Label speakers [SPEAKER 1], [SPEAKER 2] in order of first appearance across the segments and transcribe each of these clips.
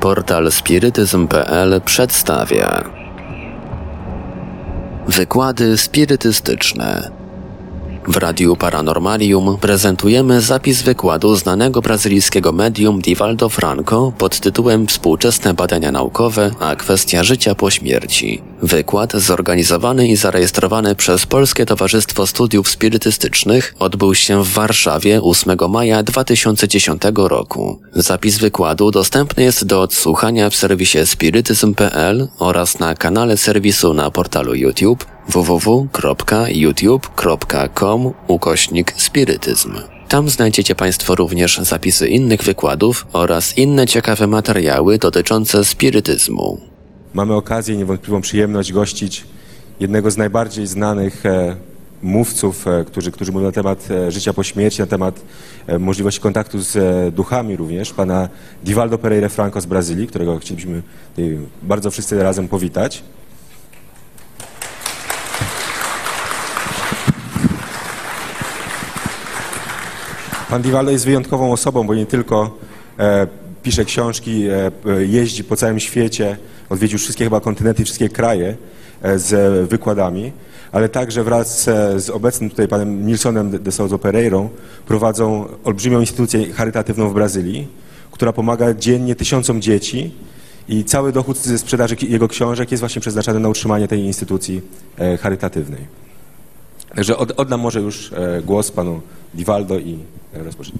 [SPEAKER 1] Portal spirytyzm.pl przedstawia Wykłady spirytystyczne. W Radiu Paranormalium prezentujemy zapis wykładu znanego brazylijskiego medium Divaldo Franco pod tytułem Współczesne badania naukowe, a kwestia życia po śmierci. Wykład zorganizowany i zarejestrowany przez Polskie Towarzystwo Studiów Spirytystycznych odbył się w Warszawie 8 maja 2010 roku. Zapis wykładu dostępny jest do odsłuchania w serwisie spirytyzm.pl oraz na kanale serwisu na portalu YouTube www.youtube.com ukośnik spirytyzm. Tam znajdziecie Państwo również zapisy innych wykładów oraz inne ciekawe materiały dotyczące spirytyzmu.
[SPEAKER 2] Mamy okazję i niewątpliwą przyjemność gościć jednego z najbardziej znanych e, mówców, e, którzy, którzy mówią na temat e, życia po śmierci, na temat e, możliwości kontaktu z e, duchami również, pana Divaldo Pereira Franco z Brazylii, którego chcielibyśmy tutaj bardzo wszyscy razem powitać. Pan Diwaldo jest wyjątkową osobą, bo nie tylko e, pisze książki, e, e, jeździ po całym świecie, odwiedził wszystkie chyba kontynenty, i wszystkie kraje e, z e, wykładami, ale także wraz e, z obecnym tutaj panem Nilsonem de- de Souza Pereirą prowadzą olbrzymią instytucję charytatywną w Brazylii, która pomaga dziennie tysiącom dzieci i cały dochód ze sprzedaży ki- jego książek jest właśnie przeznaczany na utrzymanie tej instytucji e, charytatywnej. Także od, oddam może już e, głos panu Diwaldo i e, rozpoczniemy.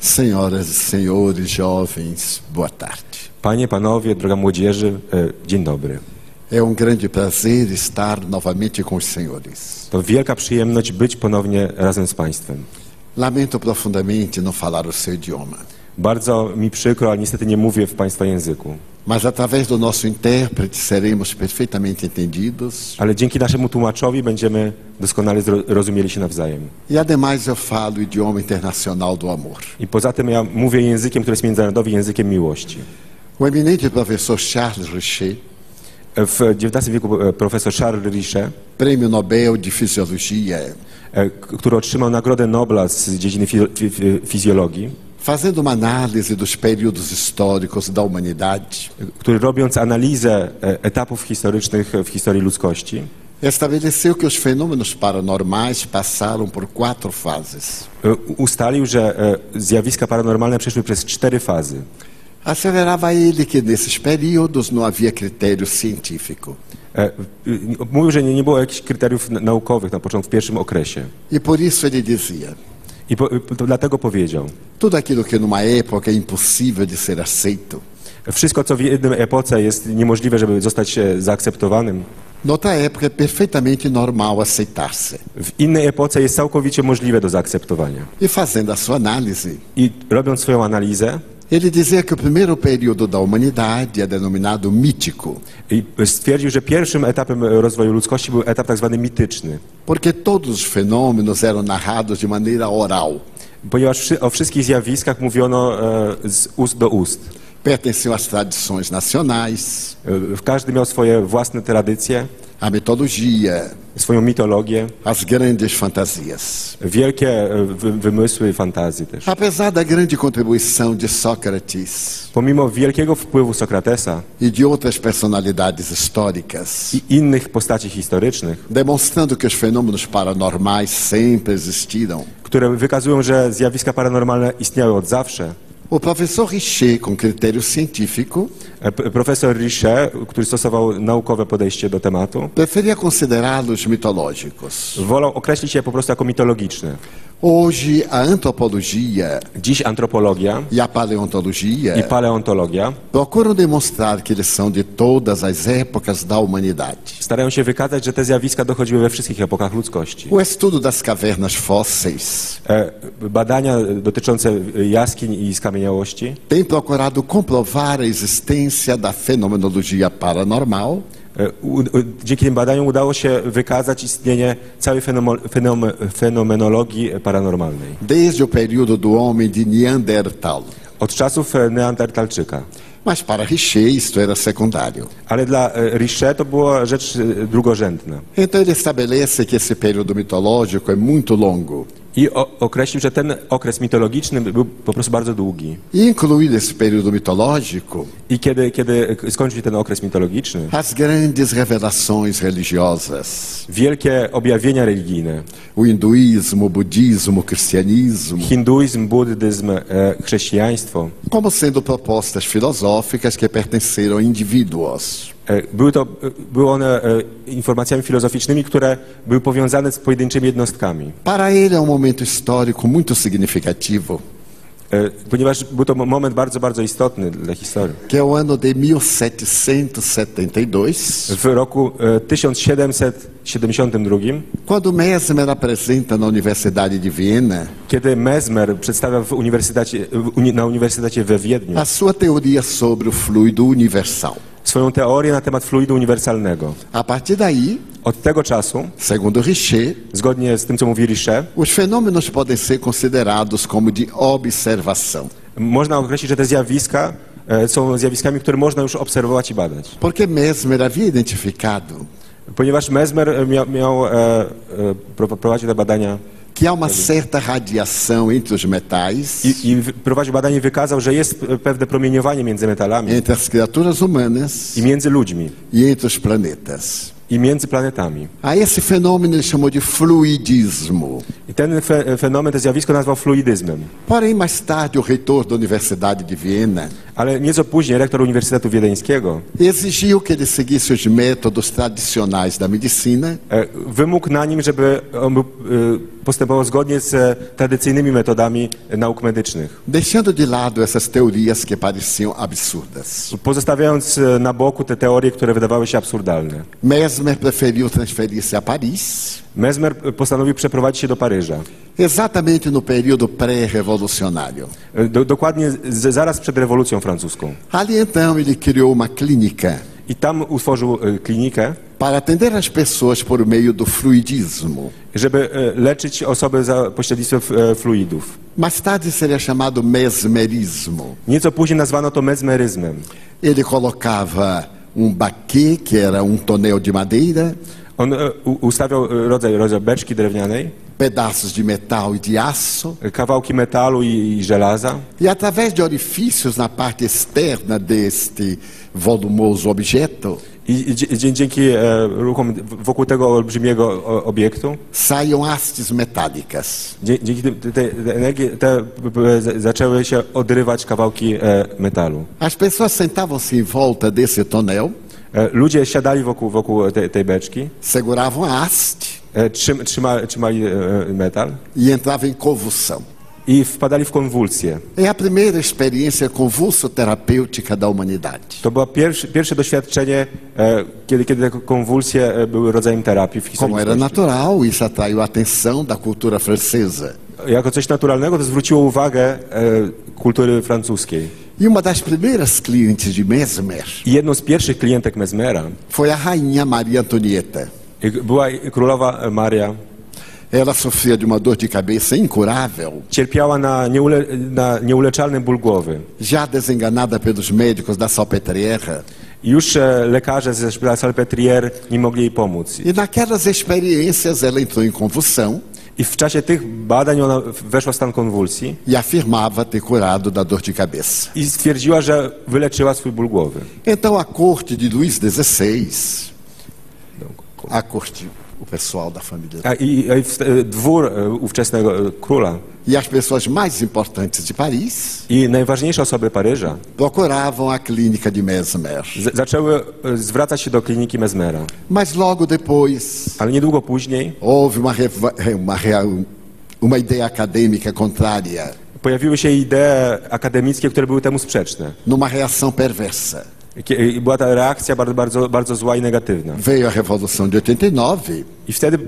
[SPEAKER 3] Senhoras e senhores, jovens, boa tarde.
[SPEAKER 2] Panie, panowie, droga młodzieży, e, dzień dobry.
[SPEAKER 3] É um grande prazer estar novamente com os senhores.
[SPEAKER 2] To wielka przyjemność być ponownie razem z państwem.
[SPEAKER 3] Lamento profundamente não falar o seu idioma,
[SPEAKER 2] Bardzo mi przykro, ale niestety nie mówię w państwa języku.
[SPEAKER 3] mas através do nosso intérprete seremos perfeitamente entendidos.
[SPEAKER 2] Ale dzięki naszemu tłumaczowi będziemy doskonale zro- rozumieli się nawzajem.
[SPEAKER 3] E ademais eu falo o idioma internacional do amor.
[SPEAKER 2] I poza tym ja mówię językiem, który jest międzynarodowy językiem miłości.
[SPEAKER 3] O eminente professor Charles Richer,
[SPEAKER 2] E, W XIX wieku e, profesor Charles Riche,
[SPEAKER 3] prêmio Nobel de Fisiologia,
[SPEAKER 2] e, k- który otrzymał Nagrodę Nobla z dziedziny fi- fi- fi- fizjologii,
[SPEAKER 3] fazendo uma análise dos períodos históricos da humanidade,
[SPEAKER 2] który robiąc analizę e, etapów historycznych w historii ludzkości,
[SPEAKER 3] Estabeleceu que os fenômenos paranormais passaram por quatro fases.
[SPEAKER 2] e, ustalił, że e, zjawiska paranormalne przeszły przez cztery fazy.
[SPEAKER 3] Acelerava ele que nesses períodos não havia critério científico.
[SPEAKER 2] E, y, Mówił, że nie, nie było jakichś kryteriów n- naukowych na początku, w pierwszym okresie.
[SPEAKER 3] E por isso ele dizia:
[SPEAKER 2] I po, y, to dlatego powiedział,
[SPEAKER 3] tudo aquilo que numa época é impossível de ser aceito,
[SPEAKER 2] wszystko co w jednym epoce jest niemożliwe, żeby zostać e, zaakceptowanym,
[SPEAKER 3] noutra época é perfeitamente normal aceitar-se.
[SPEAKER 2] w innej epoce jest całkowicie możliwe do zaakceptowania.
[SPEAKER 3] E fazendo a sua análise,
[SPEAKER 2] I robiąc swoją analizę,
[SPEAKER 3] ele dizia que o primeiro período da humanidade é denominado mítico,
[SPEAKER 2] i stwierdził, że pierwszym etapem e, rozwoju ludzkości był etap tak zwany mityczny,
[SPEAKER 3] porque todos os fenômenos eram narrados de maneira oral.
[SPEAKER 2] ponieważ wszy- o wszystkich zjawiskach mówiono e, z ust do ust.
[SPEAKER 3] Pertenciam às tradições nacionais,
[SPEAKER 2] E, Każdy miał swoje własne tradycje,
[SPEAKER 3] a mitologia,
[SPEAKER 2] swoją mitologię,
[SPEAKER 3] as grandes fantasias.
[SPEAKER 2] wielkie e, wy- wymysły i fantazje też.
[SPEAKER 3] Apesar da grande contribuição de Sócrates
[SPEAKER 2] Pomimo wielkiego wpływu Sokratesa
[SPEAKER 3] e de outras personalidades históricas,
[SPEAKER 2] i innych postaci historycznych,
[SPEAKER 3] demonstrando que os fenômenos paranormais sempre existiram,
[SPEAKER 2] które wykazują, że zjawiska paranormalne istniały od zawsze,
[SPEAKER 3] o professor Richer, com critério científico,
[SPEAKER 2] e, p- profesor Riche, który stosował naukowe podejście do tematu,
[SPEAKER 3] preferia considerá-los mitológicos.
[SPEAKER 2] wolał określić je po prostu jako mitologiczne.
[SPEAKER 3] Hoje, a antropologia
[SPEAKER 2] Dziś antropologia
[SPEAKER 3] e a paleontologia
[SPEAKER 2] i paleontologia
[SPEAKER 3] procuram demonstrar que eles são de todas as épocas da humanidade.
[SPEAKER 2] starają się wykazać, że te zjawiska dochodziły we wszystkich epokach ludzkości.
[SPEAKER 3] O estudo das cavernas fósseis
[SPEAKER 2] E, Badania dotyczące jaskiń i skamieniałości
[SPEAKER 3] tem procurado comprovar a existência da fenomenologia paranormal
[SPEAKER 2] E, u- u- Dzięki tym badaniom udało się wykazać istnienie całej fenomo- fenom- fenomenologii paranormalnej.
[SPEAKER 3] desde o período do homem de Neandertal.
[SPEAKER 2] Od czasów e, Neandertalczyka.
[SPEAKER 3] Mas para Richer isto era secundário.
[SPEAKER 2] Ale dla e, Riche to była rzecz e, drugorzędna.
[SPEAKER 3] Então ele estabelece que esse período mitológico é muito longo,
[SPEAKER 2] I o, określił, że ten okres mitologiczny był po prostu bardzo długi.
[SPEAKER 3] E incluído esse período mitológico,
[SPEAKER 2] I kiedy, kiedy skończył się ten okres mitologiczny,
[SPEAKER 3] as grandes revelações religiosas.
[SPEAKER 2] wielkie objawienia religijne,
[SPEAKER 3] O hinduísmo, o budismo, o cristianismo,
[SPEAKER 2] hinduizm, buddyzm, e, chrześcijaństwo,
[SPEAKER 3] como sendo propostas filosóficas que pertenceram a indivíduos.
[SPEAKER 2] e, były, to, e, były one e, informacjami filozoficznymi, które były powiązane z pojedynczymi jednostkami.
[SPEAKER 3] Para ele é um momento histórico muito significativo,
[SPEAKER 2] E, Ponieważ był to mo- moment bardzo, bardzo istotny dla historii.
[SPEAKER 3] que é o ano de 1772,
[SPEAKER 2] W roku e, 1772,
[SPEAKER 3] quando Mesmer apresenta na Universidade de Viena
[SPEAKER 2] kiedy Mesmer przedstawia w uniwersytecie, w uni, na Uniwersytecie we Wiedniu
[SPEAKER 3] a sua teoria sobre o fluido universal.
[SPEAKER 2] swoją teorię na temat fluidu uniwersalnego.
[SPEAKER 3] A partir daí,
[SPEAKER 2] Od tego czasu,
[SPEAKER 3] segundo Richer,
[SPEAKER 2] zgodnie z tym, co mówi Risze,
[SPEAKER 3] os fenômenos podem ser considerados como de observação,
[SPEAKER 2] można określić, że te zjawiska e, są zjawiskami, które można już obserwować i badać.
[SPEAKER 3] porque Mesmer havia identificado
[SPEAKER 2] Ponieważ Mesmer miał, miał e, e, pro- prowadził te badania
[SPEAKER 3] que há uma certa radiação entre os metais,
[SPEAKER 2] i, i wy- prowadził badanie i wykazał, że jest e, pewne promieniowanie między metalami
[SPEAKER 3] entre as criaturas humanas
[SPEAKER 2] i między ludźmi.
[SPEAKER 3] e entre os planetas.
[SPEAKER 2] i między planetami.
[SPEAKER 3] A esse fenômeno ele chamou de fluidismo.
[SPEAKER 2] I ten fe, fenomen, to zjawisko nazwał fluidyzmem.
[SPEAKER 3] Porém, mais tarde, o reitor da Universidade de Viena
[SPEAKER 2] Ale nieco później rektor Uniwersytetu Wiedeńskiego
[SPEAKER 3] exigiu que ele seguisse os métodos tradicionais da medicina
[SPEAKER 2] e, wymógł na nim, żeby on był, e, postępował zgodnie z e, tradycyjnymi metodami e, nauk medycznych,
[SPEAKER 3] deixando de lado essas teorias que pareciam absurdas.
[SPEAKER 2] pozostawiając e, na boku te teorie, które wydawały się absurdalne.
[SPEAKER 3] Mesmer preferiu transferir-se a Paris,
[SPEAKER 2] Mesmer e, postanowił przeprowadzić się do Paryża,
[SPEAKER 3] exatamente no período pré-revolucionário.
[SPEAKER 2] E, do, dokładnie z, zaraz przed rewolucją francuską.
[SPEAKER 3] Ali então ele criou uma clínica
[SPEAKER 2] I tam utworzył e, klinikę,
[SPEAKER 3] para atender as pessoas por meio do fluidismo.
[SPEAKER 2] żeby e, leczyć osoby za pośrednictwem e, fluidów.
[SPEAKER 3] Mais tarde seria chamado mesmerismo.
[SPEAKER 2] Nieco później nazwano to mesmeryzmem.
[SPEAKER 3] Ele colocava um baquê, que era um tonel de madeira,
[SPEAKER 2] On e, u- ustawiał e, rodzaj, rodzaj beczki drewnianej,
[SPEAKER 3] pedaços de metal e de aço,
[SPEAKER 2] e, kawałki metalu i, i żelaza
[SPEAKER 3] e através de orifícios na parte externa deste volumoso objeto,
[SPEAKER 2] i, i dzie- dzie- dzięki e, ruchom w- wokół tego olbrzymiego o, obiektu,
[SPEAKER 3] saiam hastes metálicas.
[SPEAKER 2] dzie, dzięki tym- te, te, te energie te p- p- z- zaczęły się odrywać kawałki e, metalu.
[SPEAKER 3] As pessoas sentavam-se em volta desse tonel,
[SPEAKER 2] E, ludzie siadali wokół, wokół te, tej beczki,
[SPEAKER 3] seguravam a haste
[SPEAKER 2] e, trzym, trzyma, trzymali e, e, metal
[SPEAKER 3] e entravam em convulsão.
[SPEAKER 2] i wpadali w konwulsje.
[SPEAKER 3] É a primeira experiência convulso-terapêutica da humanidade.
[SPEAKER 2] To było pierwsze, pierwsze doświadczenie, e, kiedy, kiedy te konwulsje e, były rodzajem terapii w historii.
[SPEAKER 3] Como era
[SPEAKER 2] ludzkości.
[SPEAKER 3] natural, isso atraiu a atenção da cultura francesa.
[SPEAKER 2] jako coś naturalnego, to zwróciło uwagę e, kultury francuskiej.
[SPEAKER 3] E uma das primeiras clientes de Mesmer
[SPEAKER 2] I jedną z pierwszych klientek Mesmera
[SPEAKER 3] foi a rainha Maria Antonieta.
[SPEAKER 2] e, była królowa Maria.
[SPEAKER 3] Ela sofria de uma dor de cabeça incurável,
[SPEAKER 2] Cierpiała na, nieule, na nieuleczalny ból głowy.
[SPEAKER 3] já desenganada pelos médicos da Salpetrière.
[SPEAKER 2] I Już e, lekarze ze szpitala Salpêtrière nie mogli jej pomóc. I-
[SPEAKER 3] E naquelas experiências ela entrou em convulsão
[SPEAKER 2] I w czasie tych badań ona w- weszła w stan konwulsji
[SPEAKER 3] e afirmava ter curado da dor de cabeça.
[SPEAKER 2] i stwierdziła, że wyleczyła swój ból głowy.
[SPEAKER 3] Então a corte de Luís XVI, a corte, o pessoal da família,
[SPEAKER 2] A, i, i w, e, dwór e, ówczesnego e, króla
[SPEAKER 3] e as pessoas mais importantes de Paris
[SPEAKER 2] i najważniejsze osoby Paryża
[SPEAKER 3] procuravam a clínica de Mesmer.
[SPEAKER 2] z, zaczęły e, zwracać się do kliniki Mesmera.
[SPEAKER 3] Mas logo depois
[SPEAKER 2] Ale niedługo później
[SPEAKER 3] houve uma, reva- uma, rea- uma ideia acadêmica contrária,
[SPEAKER 2] Pojawiły się idee akademickie, które były temu sprzeczne.
[SPEAKER 3] numa reação perversa.
[SPEAKER 2] Kie- i Była ta reakcja bardzo, bardzo, bardzo zła i negatywna.
[SPEAKER 3] Veio a Revolução de 89
[SPEAKER 2] I wtedy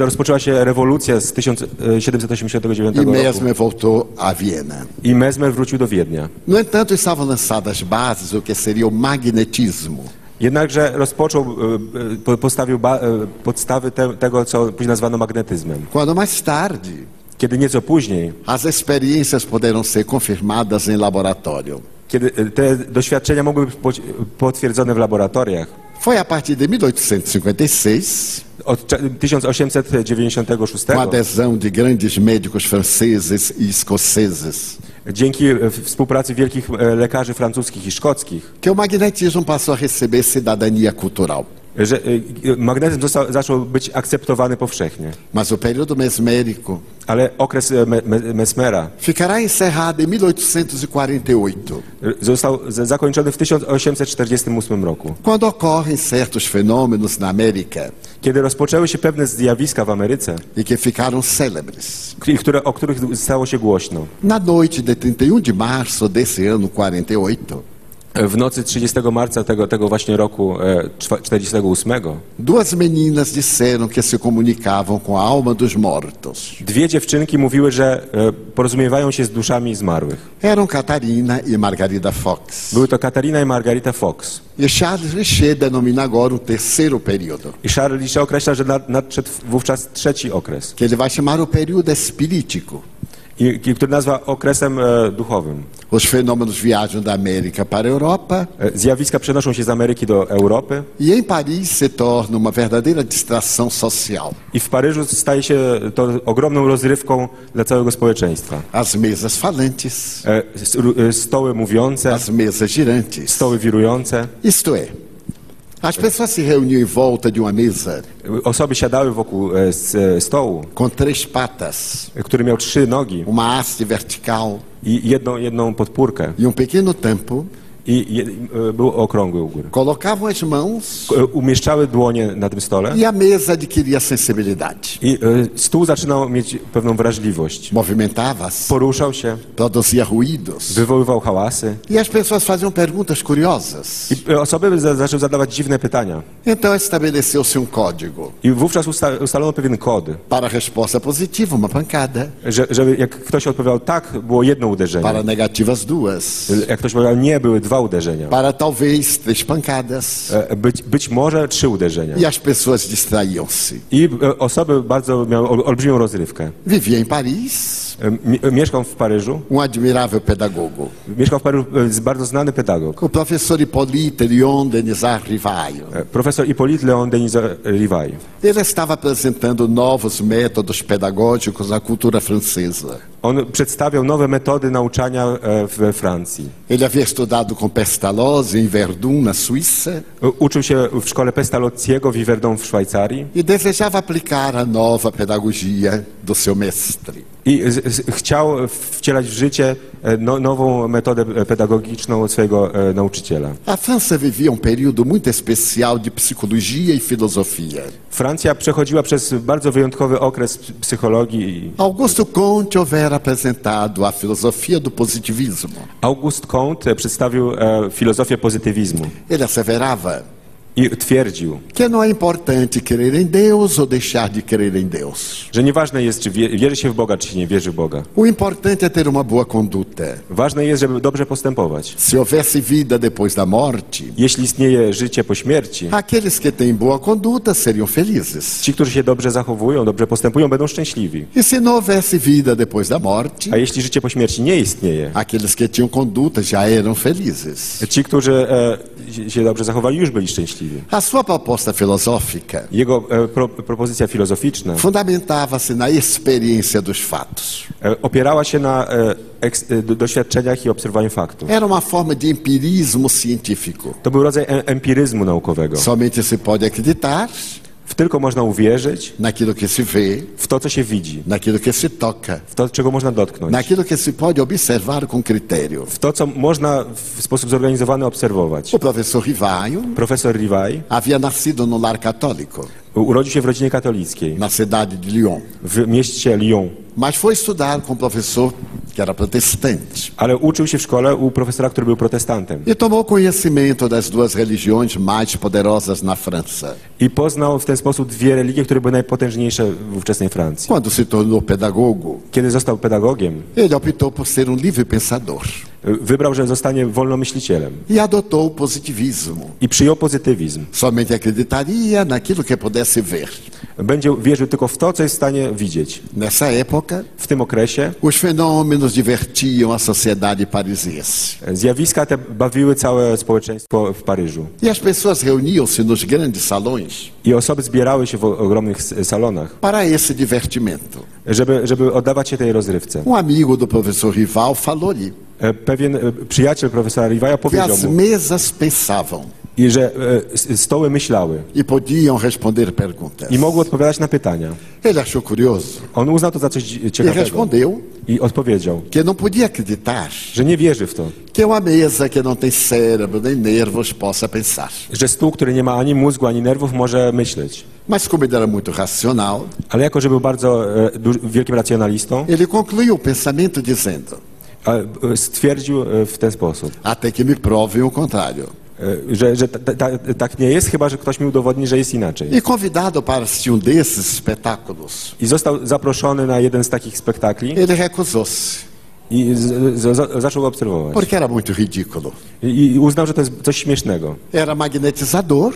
[SPEAKER 2] e, rozpoczęła się rewolucja z 1789
[SPEAKER 3] e
[SPEAKER 2] roku.
[SPEAKER 3] Mesmer voltou a Viena.
[SPEAKER 2] I Mesmer wrócił do Wiednia.
[SPEAKER 3] No entanto, estavam lançadas as bases do que seria o magnetismo.
[SPEAKER 2] Jednakże rozpoczął, e, e, po- postawił ba, e, podstawy te, tego, co później nazwano magnetyzmem.
[SPEAKER 3] Quando mais tarde,
[SPEAKER 2] Kiedy nieco później,
[SPEAKER 3] as experiências poderão ser confirmadas em laboratório.
[SPEAKER 2] kiedy e, te doświadczenia mogły być poci- potwierdzone w laboratoriach,
[SPEAKER 3] Foi a partir de 1856,
[SPEAKER 2] Od cza- 1896,
[SPEAKER 3] com a adesão de grandes médicos franceses e escoceses,
[SPEAKER 2] dzięki e, w- współpracy wielkich e, lekarzy francuskich i szkockich,
[SPEAKER 3] que o magnetismo passou a receber cidadania cultural.
[SPEAKER 2] że e, e, magnetyzm został, zaczął być akceptowany powszechnie.
[SPEAKER 3] Mas o período mesmérico
[SPEAKER 2] Ale okres e, me, me, Mesmera
[SPEAKER 3] ficará encerrado em 1848,
[SPEAKER 2] e, został z- zakończony w 1848 roku,
[SPEAKER 3] quando ocorrem certos fenômenos na América
[SPEAKER 2] kiedy rozpoczęły się pewne zjawiska w Ameryce,
[SPEAKER 3] e que ficaram célebres.
[SPEAKER 2] k- które, o których stało się głośno.
[SPEAKER 3] Na noite de 31 de março desse ano 48,
[SPEAKER 2] E, W nocy 30 marca tego, tego właśnie roku e, czwa- 48
[SPEAKER 3] duas meninas disseram que se comunicavam com a alma dos mortos.
[SPEAKER 2] dwie dziewczynki mówiły, że e, porozumiewają się z duszami zmarłych.
[SPEAKER 3] Eram Catarina e Margarida Fox.
[SPEAKER 2] Były to Katarina i Margarita Fox.
[SPEAKER 3] E Charles Richer denomina agora o terceiro período,
[SPEAKER 2] I Charles Lisze określa, że nad- nadszedł wówczas trzeci okres,
[SPEAKER 3] que ele vai chamar o período espíritico.
[SPEAKER 2] i, i, który nazwa okresem e, duchowym.
[SPEAKER 3] Os fenômenos viajam da América para a Europa
[SPEAKER 2] E, zjawiska przenoszą się z Ameryki do Europy
[SPEAKER 3] e em Paris se torna uma verdadeira distração social.
[SPEAKER 2] i w Paryżu staje się to ogromną rozrywką dla całego społeczeństwa.
[SPEAKER 3] As mesas falantes,
[SPEAKER 2] E, s- ru- e, stoły mówiące,
[SPEAKER 3] as mesas girantes.
[SPEAKER 2] stoły wirujące.
[SPEAKER 3] Isto é, as pessoas se reuniam em volta de uma mesa
[SPEAKER 2] E, Osoby siadały wokół e, s- e, stołu,
[SPEAKER 3] com três patas,
[SPEAKER 2] e, który miał trzy nogi
[SPEAKER 3] uma haste vertical
[SPEAKER 2] i jedną, jedną podpórkę
[SPEAKER 3] e um pequeno tampo,
[SPEAKER 2] i je, e, był okrągły u góry.
[SPEAKER 3] colocavam as mãos
[SPEAKER 2] E, Umieszczały dłonie na tym stole
[SPEAKER 3] e a mesa adquiria sensibilidade.
[SPEAKER 2] i e, stół zaczynał mieć pewną wrażliwość.
[SPEAKER 3] Movimentava-se,
[SPEAKER 2] Poruszał się,
[SPEAKER 3] produzia ruídos.
[SPEAKER 2] wywoływał hałasy
[SPEAKER 3] E as pessoas faziam perguntas curiosas.
[SPEAKER 2] i e, osoby za- zaczęły zadawać dziwne pytania.
[SPEAKER 3] Então estabeleceu-se um código.
[SPEAKER 2] I wówczas usta- ustalono pewien kod,
[SPEAKER 3] Para a resposta positiva, uma pancada.
[SPEAKER 2] że, żeby jak ktoś odpowiadał tak, było jedno uderzenie.
[SPEAKER 3] Para a negativa, as duas.
[SPEAKER 2] Jak ktoś powiedział nie, były dwa uderzenia.
[SPEAKER 3] Para talvez três pancadas.
[SPEAKER 2] E, Być, być może trzy uderzenia.
[SPEAKER 3] E as pessoas distraíam-se.
[SPEAKER 2] I e, osoby bardzo miały ol- olbrzymią rozrywkę.
[SPEAKER 3] Vivia em Paris
[SPEAKER 2] E, mi- e, Mieszkał w Paryżu.
[SPEAKER 3] um admirável pedagogo.
[SPEAKER 2] Mieszkał w Paryżu e, z- bardzo znany pedagog.
[SPEAKER 3] O professor Hippolyte Lyon Denisard Rivaio.
[SPEAKER 2] e, Profesor Hippolyte Leon Denis e, Rivai.
[SPEAKER 3] Ele estava apresentando novos métodos pedagógicos à cultura francesa.
[SPEAKER 2] On przedstawiał nowe metody nauczania e, we Francji.
[SPEAKER 3] Ele havia estudado com Pestalozzi em Verdun, na Suíça,
[SPEAKER 2] E, Uczył się w szkole Pestalozziego w Iverdon w Szwajcarii.
[SPEAKER 3] e desejava aplicar a nova pedagogia do seu mestre.
[SPEAKER 2] I z, z, chciał wcielać w życie e, no, nową metodę e, pedagogiczną od swojego e, nauczyciela.
[SPEAKER 3] A França vivia um período muito especial de psicologia e filosofia.
[SPEAKER 2] Francja przechodziła przez bardzo wyjątkowy okres ps- psychologii. i
[SPEAKER 3] Augusto Comte houvera apresentado a filosofia do positivismo.
[SPEAKER 2] August Comte przedstawił e, filozofię pozytywizmu
[SPEAKER 3] Ele asseverava
[SPEAKER 2] i twierdził,
[SPEAKER 3] que não é importante crer em Deus ou deixar de crer em Deus.
[SPEAKER 2] że nieważne jest, czy wie, wierzy się w Boga, czy się nie wierzy w Boga.
[SPEAKER 3] O importante é ter uma boa conduta.
[SPEAKER 2] Ważne jest, żeby dobrze postępować.
[SPEAKER 3] Se houvesse vida depois da morte,
[SPEAKER 2] Jeśli istnieje życie po śmierci,
[SPEAKER 3] aqueles que têm boa conduta seriam felizes.
[SPEAKER 2] ci, którzy się dobrze zachowują, dobrze postępują, będą szczęśliwi.
[SPEAKER 3] E se não houvesse vida depois da morte,
[SPEAKER 2] A jeśli życie po śmierci nie istnieje,
[SPEAKER 3] Aqueles que tinham conduta já eram felizes.
[SPEAKER 2] ci, którzy e, się dobrze zachowali, już byli szczęśliwi.
[SPEAKER 3] A sua proposta filosófica
[SPEAKER 2] Jego e, pro, propozycja filozoficzna
[SPEAKER 3] fundamentava-se na experiência dos fatos.
[SPEAKER 2] e, opierała się na e, eks, e, do- doświadczeniach i obserwowaniu faktów.
[SPEAKER 3] Era uma forma de empirismo científico.
[SPEAKER 2] To był rodzaj e, empiryzmu naukowego.
[SPEAKER 3] Somente se pode acreditar
[SPEAKER 2] W tylko można uwierzyć
[SPEAKER 3] naquilo que se vê,
[SPEAKER 2] w to, co się widzi,
[SPEAKER 3] naquilo que se toca,
[SPEAKER 2] w to, czego można dotknąć,
[SPEAKER 3] naquilo que se pode observar com critério.
[SPEAKER 2] w to, co można w sposób zorganizowany obserwować.
[SPEAKER 3] O professor Rivaio
[SPEAKER 2] Profesor Rivai
[SPEAKER 3] havia nascido no lar católico,
[SPEAKER 2] urodził się w rodzinie katolickiej
[SPEAKER 3] na cidade de Lyon,
[SPEAKER 2] w mieście Lyon,
[SPEAKER 3] mas foi estudar com um professor que era protestante.
[SPEAKER 2] ale uczył się w szkole u profesora, który był protestantem
[SPEAKER 3] e tomou conhecimento das duas religiões mais poderosas na França.
[SPEAKER 2] i poznał w ten sposób dwie religie, które były najpotężniejsze w ówczesnej Francji.
[SPEAKER 3] Quando se tornou pedagogo,
[SPEAKER 2] Kiedy został pedagogiem,
[SPEAKER 3] ele optou por ser um livre pensador.
[SPEAKER 2] e, wybrał, że zostanie wolnomyślicielem
[SPEAKER 3] e adotou o positivismo.
[SPEAKER 2] i przyjął pozytywizm.
[SPEAKER 3] Somente acreditaria naquilo que pudesse ver.
[SPEAKER 2] Będzie wierzył tylko w to, co jest w stanie widzieć.
[SPEAKER 3] Nessa época,
[SPEAKER 2] W tym okresie
[SPEAKER 3] os fenômenos divertiam a sociedade parisiense.
[SPEAKER 2] e, zjawiska te bawiły całe społeczeństwo w Paryżu.
[SPEAKER 3] E as pessoas reuniam-se nos grandes salões
[SPEAKER 2] I osoby zbierały się w o- ogromnych s- salonach,
[SPEAKER 3] para esse divertimento.
[SPEAKER 2] żeby, żeby oddawać się tej rozrywce.
[SPEAKER 3] Um amigo do professor Rival falou-lhe
[SPEAKER 2] E, Pewien e, przyjaciel profesora Rivaja
[SPEAKER 3] que
[SPEAKER 2] powiedział
[SPEAKER 3] as
[SPEAKER 2] mu,
[SPEAKER 3] mesas pensavam
[SPEAKER 2] i że e, s- stoły myślały
[SPEAKER 3] e podiam responder perguntas.
[SPEAKER 2] i mogły odpowiadać na pytania.
[SPEAKER 3] Ele achou curioso
[SPEAKER 2] On uznał to za coś dzi-
[SPEAKER 3] e
[SPEAKER 2] ciekawego
[SPEAKER 3] respondeu
[SPEAKER 2] i odpowiedział,
[SPEAKER 3] que não podia acreditar
[SPEAKER 2] że nie wierzy w to,
[SPEAKER 3] que uma mesa que não tem cérebro nem nervos possa pensar.
[SPEAKER 2] że stół, który nie ma ani mózgu, ani nerwów, może myśleć.
[SPEAKER 3] Mas como ele era muito racional,
[SPEAKER 2] Ale jako, że był bardzo e, duż, wielkim racjonalistą,
[SPEAKER 3] ele concluiu o pensamento dizendo:
[SPEAKER 2] a, e, stwierdził e, w ten sposób,
[SPEAKER 3] Até que me provem o contrário.
[SPEAKER 2] e, że, że ta, ta, tak nie jest, chyba że ktoś mi udowodni, że jest inaczej.
[SPEAKER 3] E convidado para assistir um desses espetáculos,
[SPEAKER 2] I został zaproszony na jeden z takich spektakli
[SPEAKER 3] ele recusou-se,
[SPEAKER 2] i z, z, z, zaczął obserwować.
[SPEAKER 3] porque era muito ridículo.
[SPEAKER 2] I, I uznał, że to jest coś śmiesznego.
[SPEAKER 3] Era magnetizador,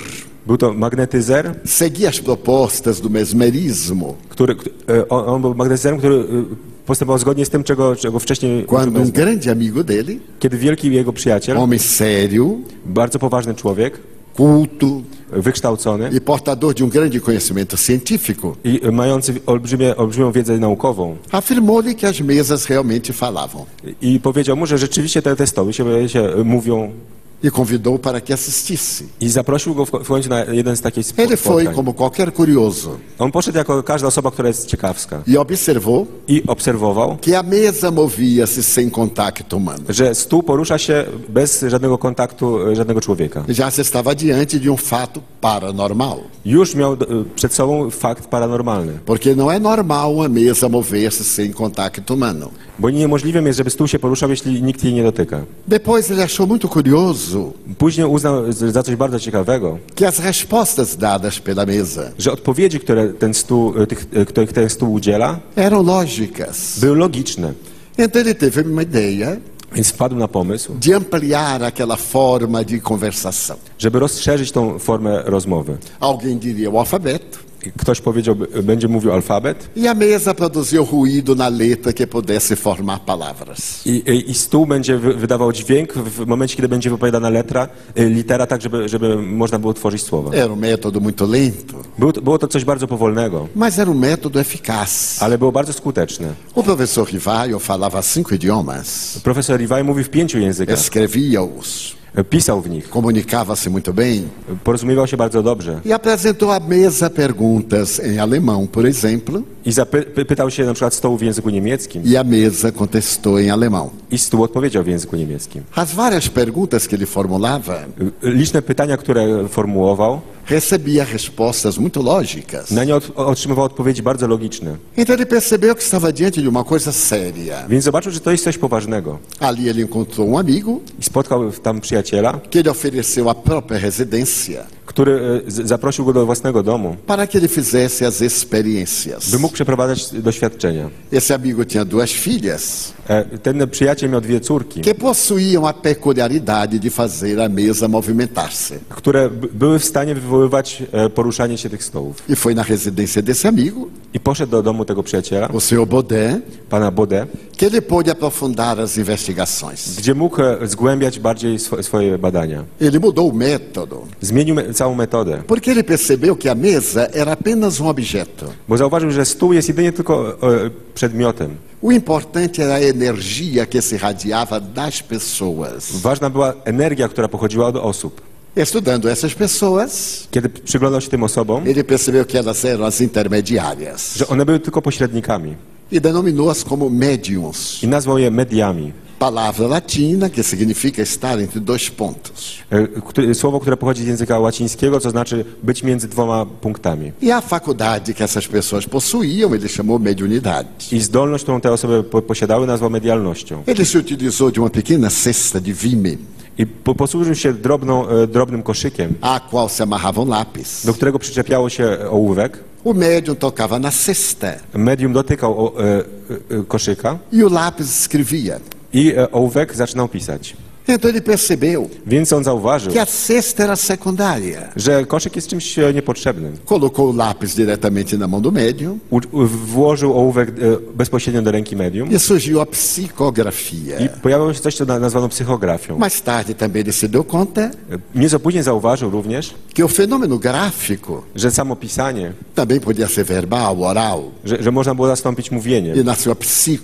[SPEAKER 2] Był to magnetyzer,
[SPEAKER 3] seguia as propostas do mesmerismo.
[SPEAKER 2] który, kt- e, on, on był magnetyzerem, który e, postępował zgodnie z tym, czego, czego wcześniej
[SPEAKER 3] Quando um
[SPEAKER 2] uczyłem.
[SPEAKER 3] grande amigo dele,
[SPEAKER 2] Kiedy wielki jego przyjaciel,
[SPEAKER 3] homem sério,
[SPEAKER 2] bardzo poważny człowiek,
[SPEAKER 3] culto
[SPEAKER 2] e, wykształcony
[SPEAKER 3] e portador de um grande conhecimento científico,
[SPEAKER 2] i e, mający olbrzymie, olbrzymią wiedzę naukową
[SPEAKER 3] afirmou-lhe que as mesas realmente falavam
[SPEAKER 2] i i powiedział mu, że rzeczywiście te, te stoły się, się e, mówią
[SPEAKER 3] e convidou para que assistisse.
[SPEAKER 2] i zaprosił go w, ko- w końcu na jeden z takich spo-
[SPEAKER 3] Ele foi
[SPEAKER 2] spotkań.
[SPEAKER 3] como qualquer curioso
[SPEAKER 2] On poszedł jako każda osoba, która jest ciekawska
[SPEAKER 3] e observou
[SPEAKER 2] i obserwował,
[SPEAKER 3] que a mesa movia-se sem contacto humano.
[SPEAKER 2] że stół porusza się bez żadnego kontaktu e, żadnego człowieka.
[SPEAKER 3] Já se estava diante de um fato paranormal,
[SPEAKER 2] Już miał e, przed sobą fakt paranormalny,
[SPEAKER 3] porque não é normal uma mesa mover-se sem contacto humano.
[SPEAKER 2] bo niemożliwym jest, żeby stół się poruszał, jeśli nikt jej nie dotyka.
[SPEAKER 3] Depois ele achou muito curioso
[SPEAKER 2] Później uznał z- za coś bardzo ciekawego,
[SPEAKER 3] que as respostas dadas pela mesa
[SPEAKER 2] że odpowiedzi, które ten stół, e, tych, e, których ten stół udziela,
[SPEAKER 3] eram lógicas.
[SPEAKER 2] były logiczne.
[SPEAKER 3] Então ele teve uma ideia
[SPEAKER 2] Więc wpadł na pomysł,
[SPEAKER 3] de ampliar aquela forma de conversação.
[SPEAKER 2] żeby rozszerzyć tą formę rozmowy.
[SPEAKER 3] Alguém diria o alfabeto,
[SPEAKER 2] Ktoś powiedział, b- będzie mówił alfabet
[SPEAKER 3] e a mesa produziu ruído na letra que pudesse formar palavras.
[SPEAKER 2] i, i- i stół będzie wy- wydawał dźwięk w w momencie, kiedy będzie wypowiadana letra, e, litera, tak żeby, żeby można było tworzyć słowa.
[SPEAKER 3] Era um método muito lento,
[SPEAKER 2] Był, to- było to coś bardzo powolnego,
[SPEAKER 3] mas era um método eficaz.
[SPEAKER 2] ale było bardzo skuteczne.
[SPEAKER 3] O professor Rivaio falava cinco idiomas,
[SPEAKER 2] Profesor Iwaj mówi w pięciu językach,
[SPEAKER 3] escrevia-os,
[SPEAKER 2] pisał w nich,
[SPEAKER 3] comunicava-se muito bem
[SPEAKER 2] porozumiewał się bardzo dobrze
[SPEAKER 3] e apresentou à mesa perguntas em alemão, por exemplo,
[SPEAKER 2] i zapy- py- pytał się na przykład stołu w języku niemieckim
[SPEAKER 3] e a mesa contestou em alemão.
[SPEAKER 2] i stół odpowiedział w języku niemieckim. Y,
[SPEAKER 3] As várias perguntas que ele formulava
[SPEAKER 2] Liczne pytania, które formułował,
[SPEAKER 3] recebia respostas muito lógicas.
[SPEAKER 2] na nie od, otrzymywał odpowiedzi bardzo logiczne.
[SPEAKER 3] Então ele percebeu que estava diante de uma coisa séria.
[SPEAKER 2] Więc zobaczył, że to jest coś poważnego.
[SPEAKER 3] Ali ele encontrou um amigo
[SPEAKER 2] I spotkał tam przyjaciela,
[SPEAKER 3] que lhe ofereceu a própria residência
[SPEAKER 2] który e, z- zaprosił go do własnego domu,
[SPEAKER 3] para que ele fizesse as experiências.
[SPEAKER 2] by mógł przeprowadzać doświadczenia.
[SPEAKER 3] Esse amigo tinha duas filhas
[SPEAKER 2] E, Ten przyjaciel miał dwie córki,
[SPEAKER 3] que possuíam a peculiaridade de fazer a mesa movimentar-se.
[SPEAKER 2] które b- były w stanie wywoływać e, poruszanie się tych stołów.
[SPEAKER 3] E foi na residência desse amigo,
[SPEAKER 2] I poszedł do domu tego przyjaciela,
[SPEAKER 3] o senhor Baudin,
[SPEAKER 2] pana Bodę,
[SPEAKER 3] que ele pôde aprofundar as investigações.
[SPEAKER 2] gdzie mógł e, zgłębiać bardziej swo- swoje badania.
[SPEAKER 3] Ele mudou o método,
[SPEAKER 2] Zmienił me- całą metodę,
[SPEAKER 3] porque ele percebeu que a mesa era apenas um objeto.
[SPEAKER 2] bo zauważył, że stół jest jedynie tylko e, przedmiotem.
[SPEAKER 3] O importante era a energia que se irradiava das pessoas.
[SPEAKER 2] Ważna była energia, która pochodziła od osób.
[SPEAKER 3] Estudando essas pessoas,
[SPEAKER 2] Kiedy przyglądał się tym osobom,
[SPEAKER 3] ele percebeu que elas eram as intermediárias
[SPEAKER 2] że one były tylko pośrednikami
[SPEAKER 3] e denominou-as como médiums.
[SPEAKER 2] i nazwał je mediami.
[SPEAKER 3] Palavra latina que significa estar entre dois pontos.
[SPEAKER 2] E, które- Słowo, które pochodzi z języka łacińskiego, co znaczy być między dwoma punktami.
[SPEAKER 3] E a faculdade que essas pessoas possuíam, ele chamou mediunidade.
[SPEAKER 2] I zdolność, którą te osoby po- posiadały, nazwał medialnością.
[SPEAKER 3] Ele se utilizou de uma pequena cesta de vime,
[SPEAKER 2] I po- posłużył się drobną, e, drobnym koszykiem,
[SPEAKER 3] à qual se amarrava um lápis.
[SPEAKER 2] do którego przyczepiało się ołówek.
[SPEAKER 3] O médium tocava na cesta
[SPEAKER 2] Medium dotykał o, e, e, e, koszyka
[SPEAKER 3] e o lápis escrevia.
[SPEAKER 2] i I e, ołówek zaczynał pisać.
[SPEAKER 3] Então ele percebeu
[SPEAKER 2] Więc on zauważył,
[SPEAKER 3] que a cesta era secundária.
[SPEAKER 2] że koszyk jest czymś e, niepotrzebnym.
[SPEAKER 3] Colocou o lápis diretamente na mão do médium
[SPEAKER 2] U, u, włożył ołówek e, bezpośrednio do ręki medium
[SPEAKER 3] e surgiu a psicografia.
[SPEAKER 2] i pojawiło się coś, co na, nazwano psychografią.
[SPEAKER 3] Mais tarde também ele se deu conta
[SPEAKER 2] E, Nieco później zauważył również,
[SPEAKER 3] que o fenômeno gráfico
[SPEAKER 2] że samo pisanie,
[SPEAKER 3] também podia ser verbal, oral,
[SPEAKER 2] że, że można było zastąpić
[SPEAKER 3] e
[SPEAKER 2] mówieniem.
[SPEAKER 3] nasceu a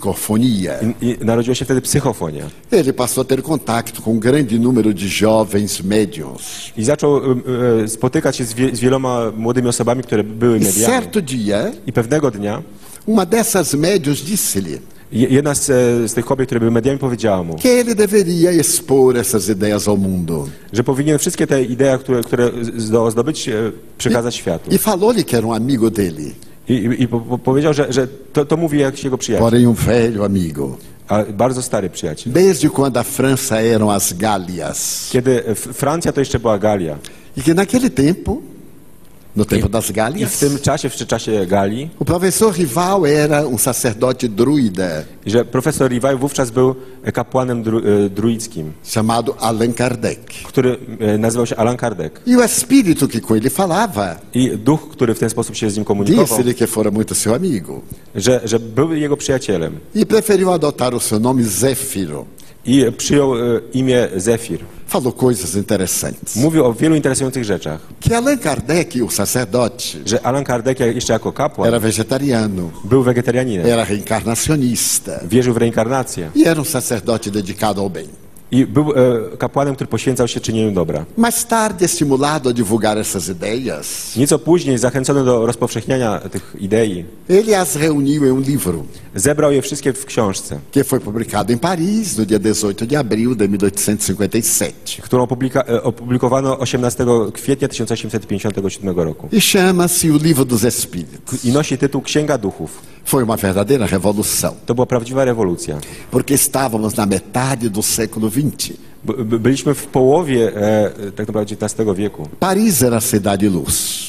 [SPEAKER 3] psicofonia.
[SPEAKER 2] I, i narodziła się wtedy psychofonia.
[SPEAKER 3] Ele passou a ter contato com um grande número de jovens médiums.
[SPEAKER 2] I zaczął em, e, spotykać się z, wie, z wieloma młodymi osobami, które były
[SPEAKER 3] E
[SPEAKER 2] mediami.
[SPEAKER 3] certo dia,
[SPEAKER 2] I pewnego dnia
[SPEAKER 3] uma dessas médiums disse-lhe
[SPEAKER 2] je- jedna z, e, z tych kobiet, które były mediami, powiedziała mu,
[SPEAKER 3] que ele deveria expor essas ideias ao mundo.
[SPEAKER 2] że powinien wszystkie te idee, które, które zdołał zdobyć, e, przekazać światu.
[SPEAKER 3] E falou-lhe que era um amigo dele,
[SPEAKER 2] I, i, i po, po- powiedział, że, że to, to mówi jakiś jego przyjaciel,
[SPEAKER 3] porém um velho amigo.
[SPEAKER 2] a bardzo stary przyjaciel.
[SPEAKER 3] Desde quando a França eram as Gálias.
[SPEAKER 2] Kiedy F- Francja to jeszcze była Galia.
[SPEAKER 3] E que naquele tempo, no tempo das
[SPEAKER 2] I w
[SPEAKER 3] Gálias,
[SPEAKER 2] tym czasie, w czasie Galii,
[SPEAKER 3] o professor rival era um sacerdote druida
[SPEAKER 2] że profesor Rivaj wówczas był kapłanem dru, e, druickim,
[SPEAKER 3] chamado Allan Kardec.
[SPEAKER 2] który e, nazywał się Alan Kardec.
[SPEAKER 3] E o espírito que com ele falava
[SPEAKER 2] I duch, który w ten sposób się z nim komunikował,
[SPEAKER 3] disse-lhe que fora muito seu amigo.
[SPEAKER 2] że, że był jego przyjacielem
[SPEAKER 3] E preferiu adotar o seu nome Zéfiro.
[SPEAKER 2] i przyjął e, imię Zefir.
[SPEAKER 3] Falou coisas interessantes.
[SPEAKER 2] Mówił o wielu interesujących rzeczach,
[SPEAKER 3] Que Allan Kardec, o sacerdote,
[SPEAKER 2] że Alan Kardec jak- jeszcze jako kapłan
[SPEAKER 3] era vegetariano,
[SPEAKER 2] był wegetarianinem,
[SPEAKER 3] era reencarnacionista
[SPEAKER 2] wierzył w reinkarnację
[SPEAKER 3] e era um sacerdote dedicado ao bem.
[SPEAKER 2] i był e, kapłanem, który poświęcał się czynieniu dobra.
[SPEAKER 3] Mais tarde, estimulado a divulgar essas ideias,
[SPEAKER 2] Nieco później, zachęcony do rozpowszechniania tych idei,
[SPEAKER 3] ele as reuniu em um livro
[SPEAKER 2] zebrał je wszystkie w książce,
[SPEAKER 3] que foi publicado em Paris no dia 18 de abril de 1857
[SPEAKER 2] którą opublika- e, opublikowano 18 kwietnia 1857 roku.
[SPEAKER 3] e chama-se O Livro dos Espíritos.
[SPEAKER 2] I nosi tytuł Księga Duchów.
[SPEAKER 3] Foi uma verdadeira revolução,
[SPEAKER 2] To była prawdziwa rewolucja.
[SPEAKER 3] porque estávamos na metade do século XX.
[SPEAKER 2] B- b- byliśmy w połowie e, tak naprawdę XIX wieku.
[SPEAKER 3] Paris era a cidade luz.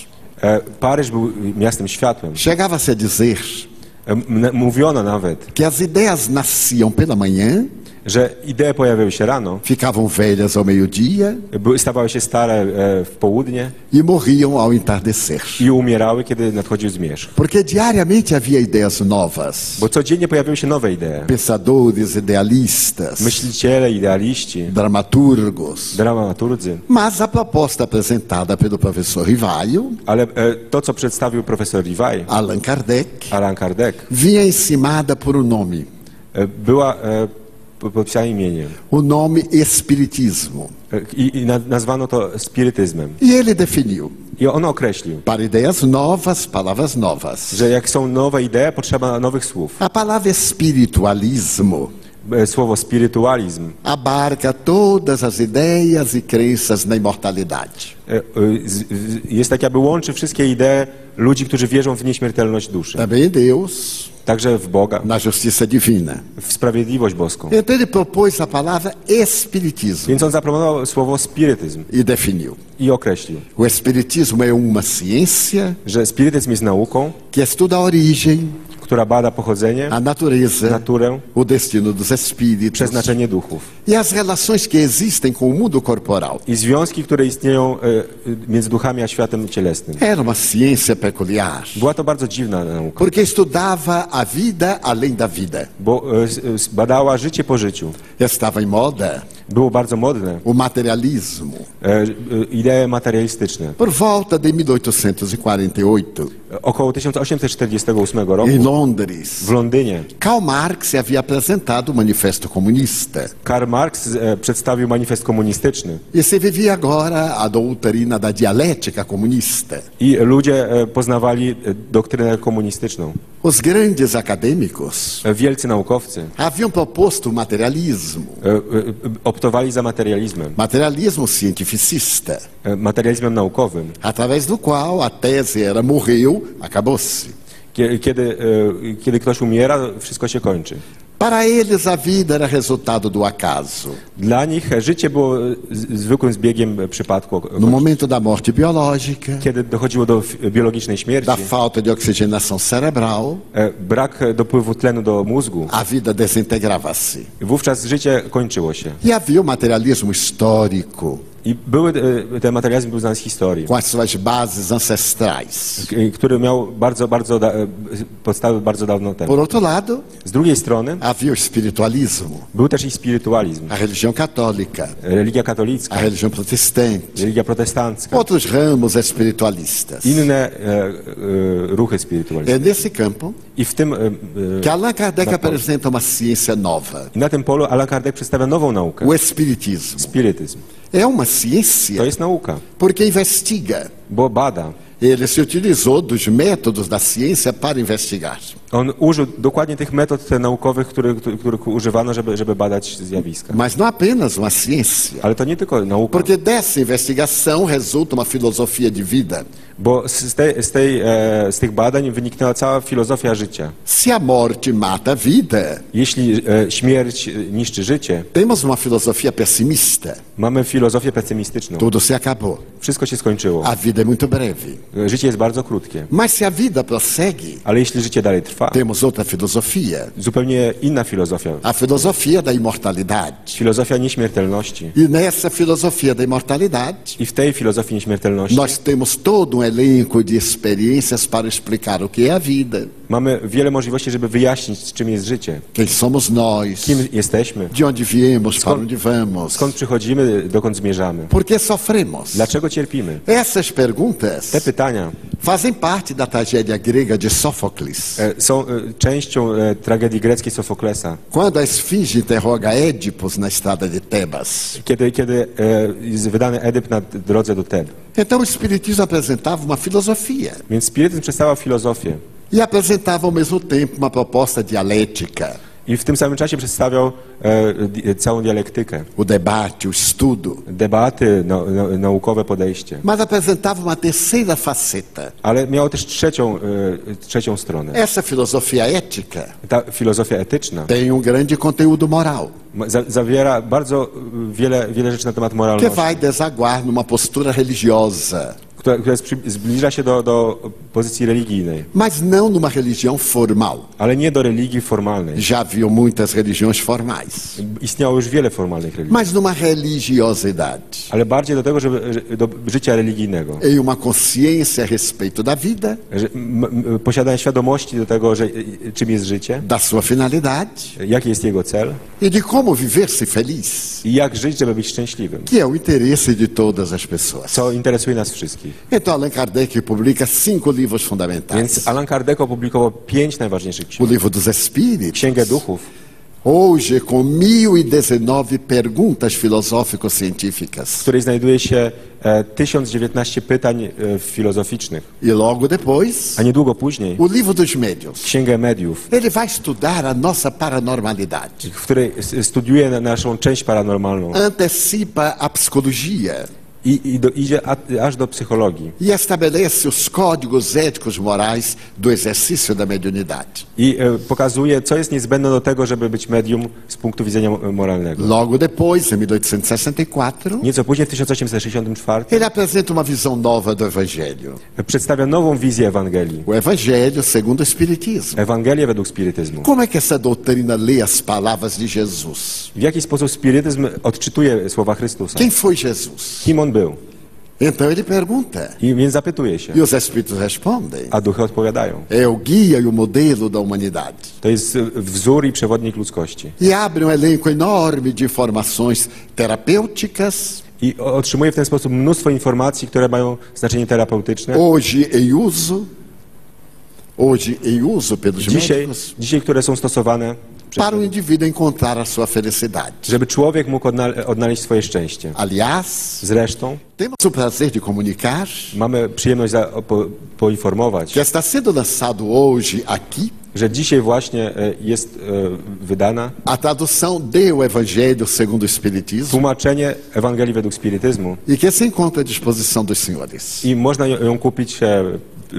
[SPEAKER 2] E, Paryż był miastem światłem.
[SPEAKER 3] Chegava-se a dizer
[SPEAKER 2] E, m- Mówiono nawet,
[SPEAKER 3] que as ideias nasciam pela manhã,
[SPEAKER 2] że idee pojawiały się rano,
[SPEAKER 3] ficavam velhas ao meio-dia
[SPEAKER 2] były- stawały się stare e, w południe
[SPEAKER 3] e morriam ao entardecer.
[SPEAKER 2] i umierały, kiedy nadchodził zmierzch.
[SPEAKER 3] Porque diariamente havia ideias novas.
[SPEAKER 2] Bo codziennie pojawiały się nowe idee.
[SPEAKER 3] pensadores, idealistas,
[SPEAKER 2] Myśliciele, idealiści,
[SPEAKER 3] dramaturgos.
[SPEAKER 2] dramaturdzy.
[SPEAKER 3] Mas a proposta apresentada pelo professor Rivaio,
[SPEAKER 2] Ale e, to, co przedstawił profesor Rivaj,
[SPEAKER 3] Allan Kardec,
[SPEAKER 2] Alan Kardec,
[SPEAKER 3] vinha encimada por um nome,
[SPEAKER 2] e, była e, p- podpisana imieniem.
[SPEAKER 3] o nome Espiritismo.
[SPEAKER 2] E, I, i na- nazwano to spirytyzmem.
[SPEAKER 3] E ele definiu,
[SPEAKER 2] I on określił,
[SPEAKER 3] para ideias novas, palavras novas.
[SPEAKER 2] że jak są nowe idee, potrzeba nowych słów.
[SPEAKER 3] A palavra espiritualismo
[SPEAKER 2] E, Słowo spirytualizm
[SPEAKER 3] abarca todas as ideias e crenças na imortalidade.
[SPEAKER 2] e, e, z- w- jest tak, jakby łączy wszystkie idee ludzi, którzy wierzą w nieśmiertelność duszy.
[SPEAKER 3] Também em Deus,
[SPEAKER 2] Także w Boga,
[SPEAKER 3] na justiça divina.
[SPEAKER 2] w sprawiedliwość boską.
[SPEAKER 3] Então ele propôs a palavra espiritismo
[SPEAKER 2] Więc on zaproponował słowo spirytyzm
[SPEAKER 3] e definiu.
[SPEAKER 2] i określił,
[SPEAKER 3] O Espiritismo é uma ciência
[SPEAKER 2] że spirytyzm jest nauką,
[SPEAKER 3] que estuda a origem,
[SPEAKER 2] która bada pochodzenie,
[SPEAKER 3] a natureza,
[SPEAKER 2] naturę,
[SPEAKER 3] o destino dos espíritos
[SPEAKER 2] przeznaczenie duchów.
[SPEAKER 3] e as relações que existem com o mundo corporal.
[SPEAKER 2] i związki, które istnieją e, e, między duchami a światem cielesnym.
[SPEAKER 3] Era uma ciência peculiar,
[SPEAKER 2] Była to bardzo dziwna nauka,
[SPEAKER 3] porque estudava a vida além da vida.
[SPEAKER 2] bo e, s- e, s- badała życie po życiu.
[SPEAKER 3] Estava em moda
[SPEAKER 2] Było bardzo modne,
[SPEAKER 3] o materialismo.
[SPEAKER 2] e, e, idee materialistyczne.
[SPEAKER 3] Por volta de 1848,
[SPEAKER 2] E, Około 1848 roku
[SPEAKER 3] em Londres,
[SPEAKER 2] w Londynie
[SPEAKER 3] Karl Marx havia apresentado o Manifesto Comunista.
[SPEAKER 2] Karl Marx e, przedstawił manifest komunistyczny
[SPEAKER 3] E se vivia agora a doutrina da dialética comunista.
[SPEAKER 2] i ludzie e, poznawali e, doktrynę komunistyczną.
[SPEAKER 3] Os grandes acadêmicos
[SPEAKER 2] E, Wielcy naukowcy
[SPEAKER 3] haviam proposto o materialismo,
[SPEAKER 2] e, e, e, optowali za materializmem,
[SPEAKER 3] materialismo cientificista,
[SPEAKER 2] e, materializmem naukowym,
[SPEAKER 3] através do qual a tese era morreu, acabou-se.
[SPEAKER 2] Kie- kiedy, e, kiedy ktoś umiera, wszystko się kończy.
[SPEAKER 3] Para eles, a vida era resultado do acaso.
[SPEAKER 2] Dla nich e, życie było e, z- zwykłym zbiegiem e, przypadku, e,
[SPEAKER 3] No momento da morte biológica,
[SPEAKER 2] kiedy dochodziło do f- biologicznej śmierci,
[SPEAKER 3] da falta de oxigenação cerebral,
[SPEAKER 2] e, brak e, dopływu tlenu do mózgu,
[SPEAKER 3] a vida desintegrava-se.
[SPEAKER 2] wówczas życie kończyło się.
[SPEAKER 3] E havia o materialismo histórico,
[SPEAKER 2] I były, e, ten materializm był znany z historii,
[SPEAKER 3] com as suas bases ancestrais.
[SPEAKER 2] k- który miał bardzo, bardzo da, e, podstawy bardzo dawno temu.
[SPEAKER 3] Por outro lado,
[SPEAKER 2] Z drugiej strony
[SPEAKER 3] havia o espiritualismo,
[SPEAKER 2] był też i spirytualizm,
[SPEAKER 3] a religião católica,
[SPEAKER 2] religia
[SPEAKER 3] a
[SPEAKER 2] katolicka,
[SPEAKER 3] religião protestante,
[SPEAKER 2] religia protestancka,
[SPEAKER 3] outros ramos espiritualistas.
[SPEAKER 2] inne e, e, ruchy spirytualistyczne.
[SPEAKER 3] É nesse campo
[SPEAKER 2] I w tym, e,
[SPEAKER 3] que
[SPEAKER 2] e,
[SPEAKER 3] Allan Kardec
[SPEAKER 2] Na pol-
[SPEAKER 3] apresenta uma ciência nova,
[SPEAKER 2] i na tym polu Allan Kardec przedstawia nową naukę,
[SPEAKER 3] o espiritismo.
[SPEAKER 2] spirytyzm.
[SPEAKER 3] É uma
[SPEAKER 2] To
[SPEAKER 3] ciência
[SPEAKER 2] jest nauka,
[SPEAKER 3] porque investiga.
[SPEAKER 2] bo bada.
[SPEAKER 3] Ele se utilizou dos métodos da ciência para investigar.
[SPEAKER 2] On użył dokładnie tych metod te naukowych, których, których- których używano, żeby, żeby badać zjawiska.
[SPEAKER 3] Mas não apenas uma ciência.
[SPEAKER 2] Ale to nie tylko nauka,
[SPEAKER 3] Porque dessa investigação resulta uma filosofia de vida.
[SPEAKER 2] bo z, z tej, z, tej, e, z tych badań wyniknęła cała filozofia życia.
[SPEAKER 3] Se a morte mata a vida,
[SPEAKER 2] Jeśli e, śmierć e, niszczy życie,
[SPEAKER 3] temos uma filosofia pessimista.
[SPEAKER 2] mamy filozofię pesymistyczną.
[SPEAKER 3] Tudo se acabou.
[SPEAKER 2] Wszystko się skończyło.
[SPEAKER 3] A vida é muito breve.
[SPEAKER 2] E, Życie jest bardzo krótkie.
[SPEAKER 3] Mas se a vida prossegue,
[SPEAKER 2] Ale jeśli życie dalej trwa,
[SPEAKER 3] temos outra filosofia.
[SPEAKER 2] zupełnie inna filozofia.
[SPEAKER 3] A filosofia da imortalidade.
[SPEAKER 2] Filozofia nieśmiertelności.
[SPEAKER 3] E nessa filosofia da imortalidade,
[SPEAKER 2] I w tej filozofii nieśmiertelności
[SPEAKER 3] nós temos todo um elenco de experiências para explicar o que é a vida,
[SPEAKER 2] mamy wiele możliwości, żeby wyjaśnić, czym jest życie,
[SPEAKER 3] quem somos nós,
[SPEAKER 2] kim jesteśmy,
[SPEAKER 3] de onde viemos, para
[SPEAKER 2] Skąd-
[SPEAKER 3] onde vamos,
[SPEAKER 2] skąd przychodzimy, dokąd zmierzamy,
[SPEAKER 3] por que sofremos.
[SPEAKER 2] dlaczego cierpimy.
[SPEAKER 3] Essas perguntas
[SPEAKER 2] Te pytania
[SPEAKER 3] fazem parte da tragédia grega de Sófocles.
[SPEAKER 2] e, są e, częścią e, tragedii greckiej Sofoklesa.
[SPEAKER 3] Quando a esfinge interroga Édipos na estrada de Tebas.
[SPEAKER 2] Kiedy, kiedy e, jest wydany Edyp na drodze do Teb.
[SPEAKER 3] Então o Espiritismo apresentava uma filosofia
[SPEAKER 2] Więc spirytyzm przedstawia filozofię
[SPEAKER 3] e apresentava ao mesmo tempo uma proposta dialética,
[SPEAKER 2] i w tym samym czasie przedstawiał e, di- całą dialektykę,
[SPEAKER 3] o debate, o estudo,
[SPEAKER 2] debaty, no, no, naukowe podejście.
[SPEAKER 3] mas apresentava uma terceira faceta.
[SPEAKER 2] Ale miało też trzecią, e, trzecią stronę.
[SPEAKER 3] Essa filosofia ética
[SPEAKER 2] Ta filozofia etyczna
[SPEAKER 3] tem um grande conteúdo moral,
[SPEAKER 2] ma- za, zawiera bardzo e, wiele, wiele rzeczy na temat
[SPEAKER 3] que
[SPEAKER 2] moralności,
[SPEAKER 3] vai desaguar numa postura religiosa,
[SPEAKER 2] która, która jest, przy- zbliża się do, do pozycji religijnej,
[SPEAKER 3] mas não numa religião formal.
[SPEAKER 2] ale nie do religii formalnej.
[SPEAKER 3] Já haviam muitas religiões formais.
[SPEAKER 2] Istniało już wiele formalnych religii,
[SPEAKER 3] mas numa religiosidade,
[SPEAKER 2] ale bardziej do tego, żeby, że- do życia religijnego.
[SPEAKER 3] em uma consciência a respeito da vida,
[SPEAKER 2] Że, m, m, posiadania świadomości do tego, że, e, czym jest życie,
[SPEAKER 3] da sua finalidade
[SPEAKER 2] jaki jest jego cel
[SPEAKER 3] e de como viver-se feliz,
[SPEAKER 2] i jak żyć, żeby być szczęśliwym.
[SPEAKER 3] que é o interesse de todas as pessoas.
[SPEAKER 2] Co interesuje nas wszystkich.
[SPEAKER 3] Então, Allan Kardec publica cinco livros fundamentais.
[SPEAKER 2] Więc Allan Kardec opublikował pięć najważniejszych
[SPEAKER 3] O
[SPEAKER 2] ksiąg.
[SPEAKER 3] livro dos Espíritos,
[SPEAKER 2] Księgę Duchów,
[SPEAKER 3] hoje com 1019 perguntas
[SPEAKER 2] w
[SPEAKER 3] filosófico-científicas.
[SPEAKER 2] której znajduje się e, 1019 pytań e, filozoficznych.
[SPEAKER 3] E logo depois,
[SPEAKER 2] A niedługo później
[SPEAKER 3] o livro dos médiuns.
[SPEAKER 2] Księgę Mediów,
[SPEAKER 3] Ele vai estudar a nossa paranormalidade,
[SPEAKER 2] w której s- studiuje na- naszą część paranormalną
[SPEAKER 3] antecipa a psicologia,
[SPEAKER 2] i, i do, idzie a, aż do psychologii.
[SPEAKER 3] e estabelece os códigos éticos morais do exercício da mediunidade.
[SPEAKER 2] I e, pokazuje, co jest niezbędne do tego, żeby być medium z punktu widzenia mo- moralnego.
[SPEAKER 3] Logo depois, em 1864,
[SPEAKER 2] Nieco później, w 1864,
[SPEAKER 3] ele apresenta uma visão nova do Evangelho.
[SPEAKER 2] przedstawia nową wizję Ewangelii.
[SPEAKER 3] O Evangelho segundo o Espiritismo.
[SPEAKER 2] Ewangelię według spirytyzmu.
[SPEAKER 3] Como é que essa doutrina lê as palavras de Jesus?
[SPEAKER 2] W jaki sposób spirytyzm odczytuje słowa Chrystusa?
[SPEAKER 3] Quem foi Jesus?
[SPEAKER 2] Kim on był?
[SPEAKER 3] Então ele pergunta,
[SPEAKER 2] I więc zapytuje się,
[SPEAKER 3] e os Espíritos respondem:
[SPEAKER 2] a duchy odpowiadają.
[SPEAKER 3] é o guia e o modelo da humanidade.
[SPEAKER 2] To jest e, wzór i przewodnik ludzkości.
[SPEAKER 3] E abre um elenco enorme de informações terapêuticas,
[SPEAKER 2] I o- otrzymuje w ten sposób mnóstwo informacji, które mają znaczenie terapeutyczne.
[SPEAKER 3] hoje em uso, hoje em uso pelos
[SPEAKER 2] Dzisiaj,
[SPEAKER 3] médicos,
[SPEAKER 2] dzisiaj które są stosowane, przez-
[SPEAKER 3] para o indivíduo encontrar a sua felicidade.
[SPEAKER 2] żeby człowiek mógł odna- odnaleźć swoje szczęście.
[SPEAKER 3] Aliás,
[SPEAKER 2] Zresztą
[SPEAKER 3] temos o prazer de comunicar
[SPEAKER 2] mamy przyjemność za, po, poinformować,
[SPEAKER 3] que está sendo lançado hoje aqui
[SPEAKER 2] że dzisiaj właśnie e, jest e, wydana
[SPEAKER 3] a tradução de O Evangelho segundo o Espiritismo
[SPEAKER 2] tłumaczenie Ewangelii według spirytyzmu
[SPEAKER 3] e que se encontra à disposição dos senhores.
[SPEAKER 2] i można ją- ją kupić e,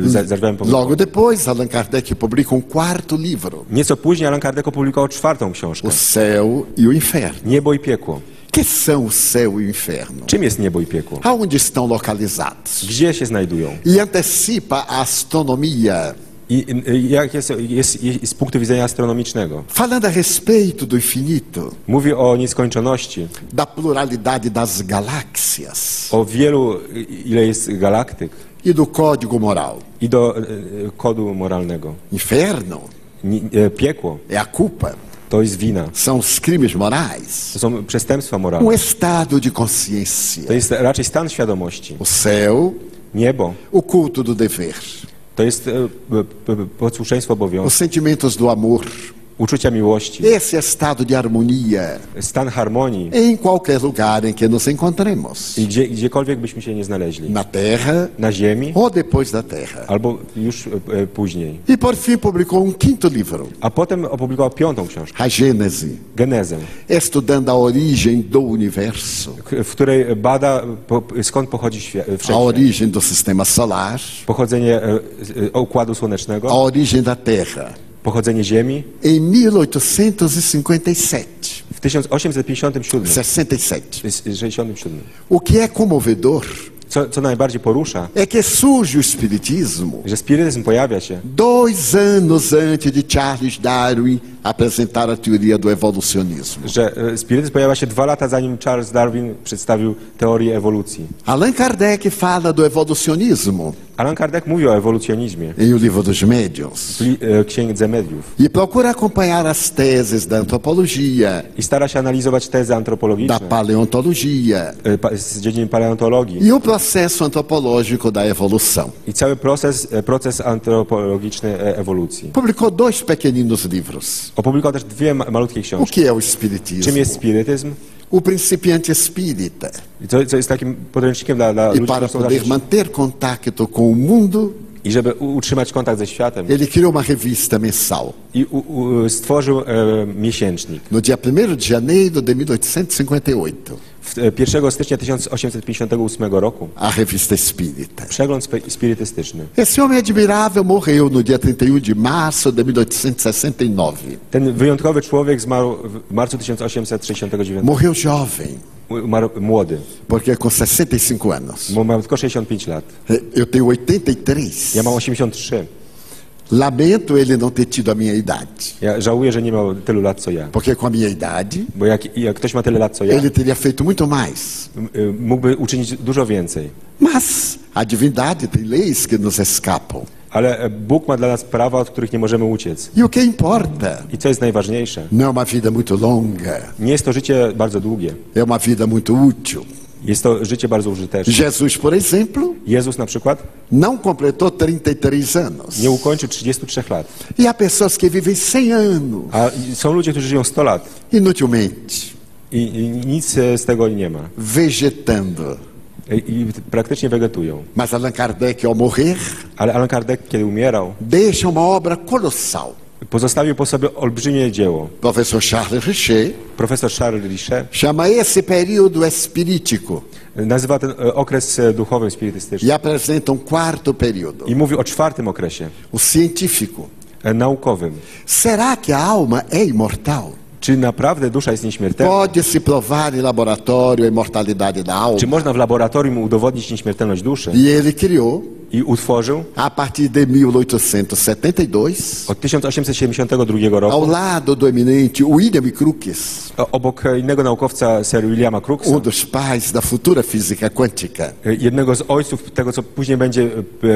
[SPEAKER 2] Zer- Zerwałem pomysł.
[SPEAKER 3] Logo depois, Allan Kardec publica um quarto livro,
[SPEAKER 2] Nieco później Allan Kardec opublikował czwartą książkę.
[SPEAKER 3] O Céu e o Inferno.
[SPEAKER 2] Niebo i piekło.
[SPEAKER 3] Que são o céu e o inferno?
[SPEAKER 2] Czym jest niebo i piekło?
[SPEAKER 3] Aonde estão localizados?
[SPEAKER 2] Gdzie się znajdują?
[SPEAKER 3] E antecipa a astronomia,
[SPEAKER 2] I, i- i jak jest, jest, jest z punktu widzenia astronomicznego?
[SPEAKER 3] falando a respeito do infinito,
[SPEAKER 2] Mówi o nieskończoności,
[SPEAKER 3] da pluralidade das galáxias
[SPEAKER 2] o wielu, y, ile jest galaktyk
[SPEAKER 3] e do código moral.
[SPEAKER 2] i do e, e, kodu moralnego.
[SPEAKER 3] Inferno
[SPEAKER 2] Ni, e, piekło
[SPEAKER 3] é a culpa,
[SPEAKER 2] to jest wina.
[SPEAKER 3] são os crimes morais,
[SPEAKER 2] To są przestępstwa
[SPEAKER 3] um
[SPEAKER 2] moralne.
[SPEAKER 3] estado de
[SPEAKER 2] To
[SPEAKER 3] consciência.
[SPEAKER 2] jest raczej stan świadomości.
[SPEAKER 3] O céu,
[SPEAKER 2] Niebo
[SPEAKER 3] o culto do dever,
[SPEAKER 2] to jest e, p- p- posłuszeństwo
[SPEAKER 3] os
[SPEAKER 2] obowiązku,
[SPEAKER 3] sentimentos do amor,
[SPEAKER 2] uczucia miłości,
[SPEAKER 3] esse estado de harmonia
[SPEAKER 2] stan harmonii
[SPEAKER 3] em qualquer lugar em que nos encontremos,
[SPEAKER 2] i gdzie, gdziekolwiek byśmy się nie znaleźli.
[SPEAKER 3] na terra
[SPEAKER 2] Na ziemi
[SPEAKER 3] ou depois da terra.
[SPEAKER 2] albo już e, e, później.
[SPEAKER 3] E por fim publicou um quinto livro,
[SPEAKER 2] A potem opublikował piątą książkę,
[SPEAKER 3] A Gênese,
[SPEAKER 2] Genezę,
[SPEAKER 3] estudando a origem do universo,
[SPEAKER 2] k- w której bada po, skąd pochodzi świat,
[SPEAKER 3] a
[SPEAKER 2] wszechświat,
[SPEAKER 3] origem do sistema solar,
[SPEAKER 2] pochodzenie e, e, układu
[SPEAKER 3] a
[SPEAKER 2] słonecznego,
[SPEAKER 3] origem da terra.
[SPEAKER 2] pochodzenie ziemi.
[SPEAKER 3] Em 1857,
[SPEAKER 2] W 1857
[SPEAKER 3] 67,
[SPEAKER 2] s- 67.
[SPEAKER 3] o que é comovedor
[SPEAKER 2] Co, co najbardziej porusza,
[SPEAKER 3] é que surge o espiritismo
[SPEAKER 2] że spirytyzm pojawia się
[SPEAKER 3] dois anos antes de Charles Darwin apresentar a teoria do evolucionismo.
[SPEAKER 2] że e, spirytyzm pojawia się dwa lata zanim Charles Darwin przedstawił teorię ewolucji.
[SPEAKER 3] Allan Kardec fala do evolucionismo
[SPEAKER 2] Allan Kardec mówi o ewolucjonizmie
[SPEAKER 3] em O Livro dos Médiuns
[SPEAKER 2] w li- e, Księdze Mediów
[SPEAKER 3] e procura acompanhar as teses da antropologia,
[SPEAKER 2] i stara się analizować tezy
[SPEAKER 3] da
[SPEAKER 2] antropologiczne
[SPEAKER 3] paleontologia
[SPEAKER 2] e, pa- z dziedzin paleontologii
[SPEAKER 3] e o processo antropológico da evolução.
[SPEAKER 2] i cały proces, e, proces antropologiczny e, ewolucji.
[SPEAKER 3] Publicou dois pequeninos livros.
[SPEAKER 2] Opublikował też dwie ma malutkie
[SPEAKER 3] O
[SPEAKER 2] książki.
[SPEAKER 3] que é o
[SPEAKER 2] Czym jest
[SPEAKER 3] espiritismo?
[SPEAKER 2] spirytyzm?
[SPEAKER 3] O principiante espírita.
[SPEAKER 2] I co, co jest takim podręcznikiem dla, dla
[SPEAKER 3] E
[SPEAKER 2] ludzi,
[SPEAKER 3] para
[SPEAKER 2] którzy są
[SPEAKER 3] poder
[SPEAKER 2] zacząć,
[SPEAKER 3] manter contato com o mundo,
[SPEAKER 2] i żeby u- utrzymać kontakt ze światem.
[SPEAKER 3] ele criou uma revista mensal.
[SPEAKER 2] I u, u, stworzył e, miesięcznik.
[SPEAKER 3] No dia 1 de janeiro de 1858,
[SPEAKER 2] W, e, 1 stycznia 1858 roku
[SPEAKER 3] a revista espírita.
[SPEAKER 2] przegląd spe- spirytystyczny.
[SPEAKER 3] Esse homem admirável morreu no dia 31 de março de 1869.
[SPEAKER 2] Ten wyjątkowy człowiek zmarł w marcu 1869.
[SPEAKER 3] Morreu jovem,
[SPEAKER 2] Umarł młody,
[SPEAKER 3] porque com 65 anos.
[SPEAKER 2] bo miał tylko 65 lat.
[SPEAKER 3] Eu tenho 83.
[SPEAKER 2] Ja mam 83.
[SPEAKER 3] Lamento ele não ter tido a minha idade.
[SPEAKER 2] Ja żałuję, że nie miał tylu lat co ja.
[SPEAKER 3] Porque com a minha idade,
[SPEAKER 2] Bo jak, jak ktoś ma tyle lat co ja,
[SPEAKER 3] ele teria feito muito mais.
[SPEAKER 2] m- y, mógłby uczynić dużo więcej.
[SPEAKER 3] Mas a divindade tem leis que nos escapam.
[SPEAKER 2] Ale e, Bóg ma dla nas prawa, od których nie możemy uciec.
[SPEAKER 3] E o que importa?
[SPEAKER 2] I co jest najważniejsze?
[SPEAKER 3] Não é uma vida muito longa,
[SPEAKER 2] Nie jest to życie bardzo długie.
[SPEAKER 3] é uma vida muito útil.
[SPEAKER 2] Jest to życie bardzo użyteczne.
[SPEAKER 3] Jesus, por exemplo,
[SPEAKER 2] Jezus na przykład
[SPEAKER 3] não completou 33 anos.
[SPEAKER 2] nie ukończył 33 lat.
[SPEAKER 3] E há pessoas que vivem 100 anos
[SPEAKER 2] A i- są ludzie, którzy żyją 100 lat
[SPEAKER 3] inutilmente,
[SPEAKER 2] i, i nic e, z tego nie ma. E,
[SPEAKER 3] vegetando.
[SPEAKER 2] I, I praktycznie wegetują.
[SPEAKER 3] Mas Allan Kardec, ao morrer,
[SPEAKER 2] Ale Allan Kardec, kiedy umierał,
[SPEAKER 3] deixa uma obra colossal.
[SPEAKER 2] pozostawił po sobie olbrzymie dzieło.
[SPEAKER 3] O professor Charles Richer
[SPEAKER 2] Profesor Charles Richet
[SPEAKER 3] chama esse período espirítico
[SPEAKER 2] nazywa ten e, okres e, duchowym spirytystycznym
[SPEAKER 3] e apresenta um quarto período,
[SPEAKER 2] i mówi o czwartym okresie,
[SPEAKER 3] o científico.
[SPEAKER 2] e, naukowym.
[SPEAKER 3] Será que a alma é imortal?
[SPEAKER 2] Czy naprawdę dusza jest nieśmiertelna?
[SPEAKER 3] Pode-se provar em laboratório a imortalidade da alma?
[SPEAKER 2] Czy można w laboratorium udowodnić nieśmiertelność duszy?
[SPEAKER 3] E ele criou,
[SPEAKER 2] I utworzył
[SPEAKER 3] a partir de 1872,
[SPEAKER 2] od 1872
[SPEAKER 3] ao
[SPEAKER 2] roku
[SPEAKER 3] lado do eminente William Crookes,
[SPEAKER 2] o- obok e, innego naukowca Sir Williama Crookesa,
[SPEAKER 3] um dos pais da futura física quântica,
[SPEAKER 2] e, jednego z ojców tego, co później będzie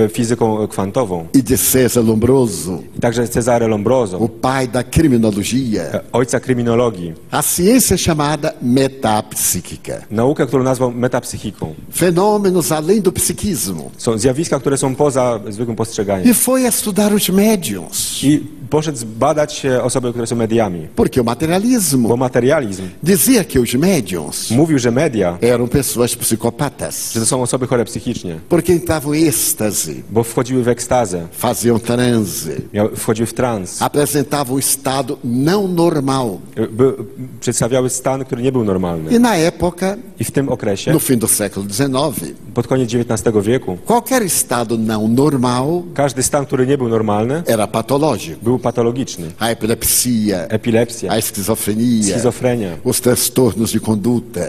[SPEAKER 2] e, fizyką e, kwantową,
[SPEAKER 3] e de César Lombroso,
[SPEAKER 2] i także Cezary Lombroso,
[SPEAKER 3] o pai da criminologia,
[SPEAKER 2] e, ojca kryminologii.
[SPEAKER 3] a ciência chamada metapsíquica.
[SPEAKER 2] Naukę, którą nazwał metapsychiką.
[SPEAKER 3] Fenômenos além do psiquismo.
[SPEAKER 2] Są zjawiska, które są poza zwykłym postrzeganiem.
[SPEAKER 3] E foi estudar os médiums.
[SPEAKER 2] I poszedł zbadać e, osoby, które są mediami.
[SPEAKER 3] Porque o
[SPEAKER 2] Bo
[SPEAKER 3] materialismo
[SPEAKER 2] materializm
[SPEAKER 3] dizia que os médiums
[SPEAKER 2] mówił, że media,
[SPEAKER 3] eram pessoas psicopatas,
[SPEAKER 2] że to są osoby chore psychicznie,
[SPEAKER 3] porque entravam em êxtase,
[SPEAKER 2] bo wchodziły w ekstazę,
[SPEAKER 3] faziam transe,
[SPEAKER 2] miały, wchodziły w trans,
[SPEAKER 3] apresentavam um estado não normal.
[SPEAKER 2] e, by, przedstawiały stan, który nie był normalny.
[SPEAKER 3] E na época,
[SPEAKER 2] I w tym okresie,
[SPEAKER 3] no fim do século XIX,
[SPEAKER 2] pod koniec XIX wieku,
[SPEAKER 3] qualquer estado não normal
[SPEAKER 2] każdy stan, który nie był normalny,
[SPEAKER 3] era patológico.
[SPEAKER 2] był patologiczny.
[SPEAKER 3] A epilepsia,
[SPEAKER 2] É. Epilepsja,
[SPEAKER 3] a esquizofrenia,
[SPEAKER 2] schizofrenia,
[SPEAKER 3] os transtornos de conduta.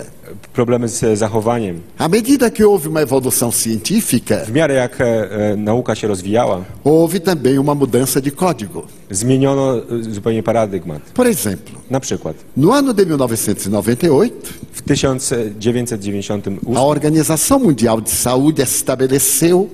[SPEAKER 2] problemy z e, zachowaniem.
[SPEAKER 3] À medida que houve uma evolução científica,
[SPEAKER 2] W miarę jak e, e, nauka się rozwijała,
[SPEAKER 3] houve também uma mudança de código.
[SPEAKER 2] zmieniono e, zupełnie paradygmat.
[SPEAKER 3] Por exemplo,
[SPEAKER 2] Na przykład
[SPEAKER 3] no ano de 1998,
[SPEAKER 2] w 1998
[SPEAKER 3] a Organização Mundial de Saúde estabeleceu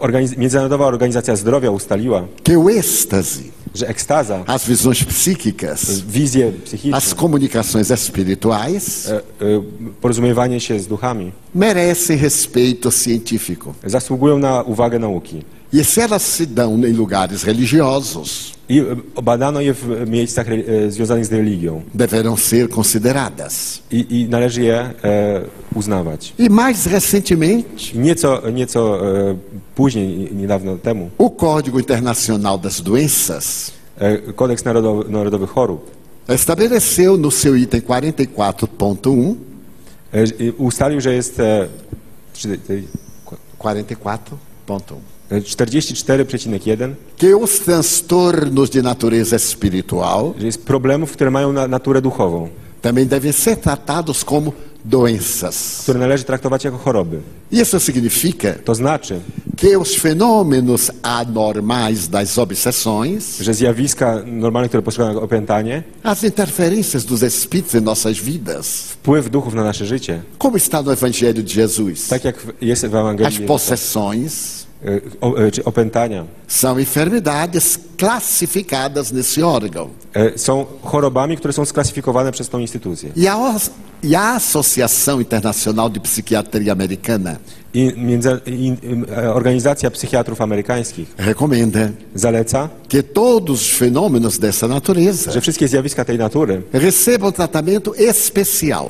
[SPEAKER 2] organiz- Międzynarodowa Organizacja Zdrowia ustaliła,
[SPEAKER 3] que o êxtase,
[SPEAKER 2] że ekstaza,
[SPEAKER 3] as visões psíquicas,
[SPEAKER 2] wizje
[SPEAKER 3] as
[SPEAKER 2] psychiczne,
[SPEAKER 3] comunicações espirituais
[SPEAKER 2] e, e, porozumiewanie się z duchami
[SPEAKER 3] merecem respeito científico.
[SPEAKER 2] zasługują na uwagę nauki.
[SPEAKER 3] E se elas se dão em lugares religiosos,
[SPEAKER 2] I e, badano je w miejscach re- e, związanych z religią
[SPEAKER 3] deverão ser consideradas.
[SPEAKER 2] i, i należy je e, uznawać.
[SPEAKER 3] E mais recentemente,
[SPEAKER 2] I Nieco, nieco e, później, nie- niedawno temu,
[SPEAKER 3] o Código Internacional das Doenças
[SPEAKER 2] e, Kodeks Narodowy, Narodowych Chorób
[SPEAKER 3] estabeleceu no seu item 44.1,
[SPEAKER 2] E, ż- i Ustalił, że jest e, czy- tej-
[SPEAKER 3] 44.1,
[SPEAKER 2] e, 44,1,
[SPEAKER 3] que os transtornos de natureza espiritual
[SPEAKER 2] że jest problemów, które mają na, naturę duchową,
[SPEAKER 3] também devem ser tratados como doenças.
[SPEAKER 2] które należy traktować jako choroby.
[SPEAKER 3] Isso significa
[SPEAKER 2] To znaczy,
[SPEAKER 3] que os fenômenos anormais das obsessões,
[SPEAKER 2] że zjawiska normalne, które posługują na opętanie,
[SPEAKER 3] as interferências dos espíritos em nossas vidas,
[SPEAKER 2] wpływ duchów na nasze życie,
[SPEAKER 3] como está no Evangelho de Jesus,
[SPEAKER 2] tak jak w- jest w
[SPEAKER 3] as
[SPEAKER 2] Ewangelii,
[SPEAKER 3] possessões
[SPEAKER 2] e, o, e, czy opętania,
[SPEAKER 3] são enfermidades classificadas nesse órgão.
[SPEAKER 2] e, są chorobami, które są sklasyfikowane przez tą instytucję.
[SPEAKER 3] E a, os- e a Associação Internacional de Psiquiatria Americana
[SPEAKER 2] I, między, i e, Organizacja Psychiatrów Amerykańskich
[SPEAKER 3] recomenda
[SPEAKER 2] zaleca,
[SPEAKER 3] que todos os fenômenos dessa
[SPEAKER 2] że
[SPEAKER 3] natureza
[SPEAKER 2] wszystkie zjawiska tej natury
[SPEAKER 3] recebam tratamento especial,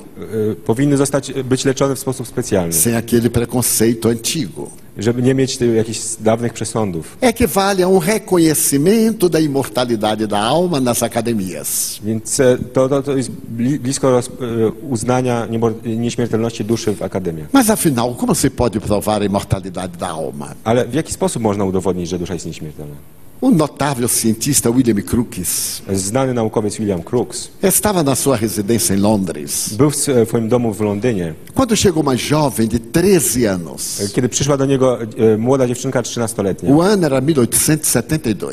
[SPEAKER 2] e, powinny zostać, być leczone w sposób specjalny,
[SPEAKER 3] sem aquele preconceito antigo.
[SPEAKER 2] żeby nie mieć e, jakichś dawnych przesądów.
[SPEAKER 3] Equivale a um reconhecimento da imortalidade da alma nas academias.
[SPEAKER 2] Więc e, to, to, to jest bli- blisko roz, e, uznania niemor- nieśmiertelności duszy w akademiach.
[SPEAKER 3] Mas afinal, como se pode provar a imortalidade da alma?
[SPEAKER 2] Ale w jaki sposób można udowodnić, że dusza jest nieśmiertelna?
[SPEAKER 3] O notável cientista William Crookes
[SPEAKER 2] Znany naukowiec William Crookes
[SPEAKER 3] estava na sua residência em Londres
[SPEAKER 2] był w s- w swoim domu w Londynie,
[SPEAKER 3] quando chegou uma jovem de 13 anos.
[SPEAKER 2] e, kiedy przyszła do niego e, młoda dziewczynka 13-letnia.
[SPEAKER 3] O ano era 1872.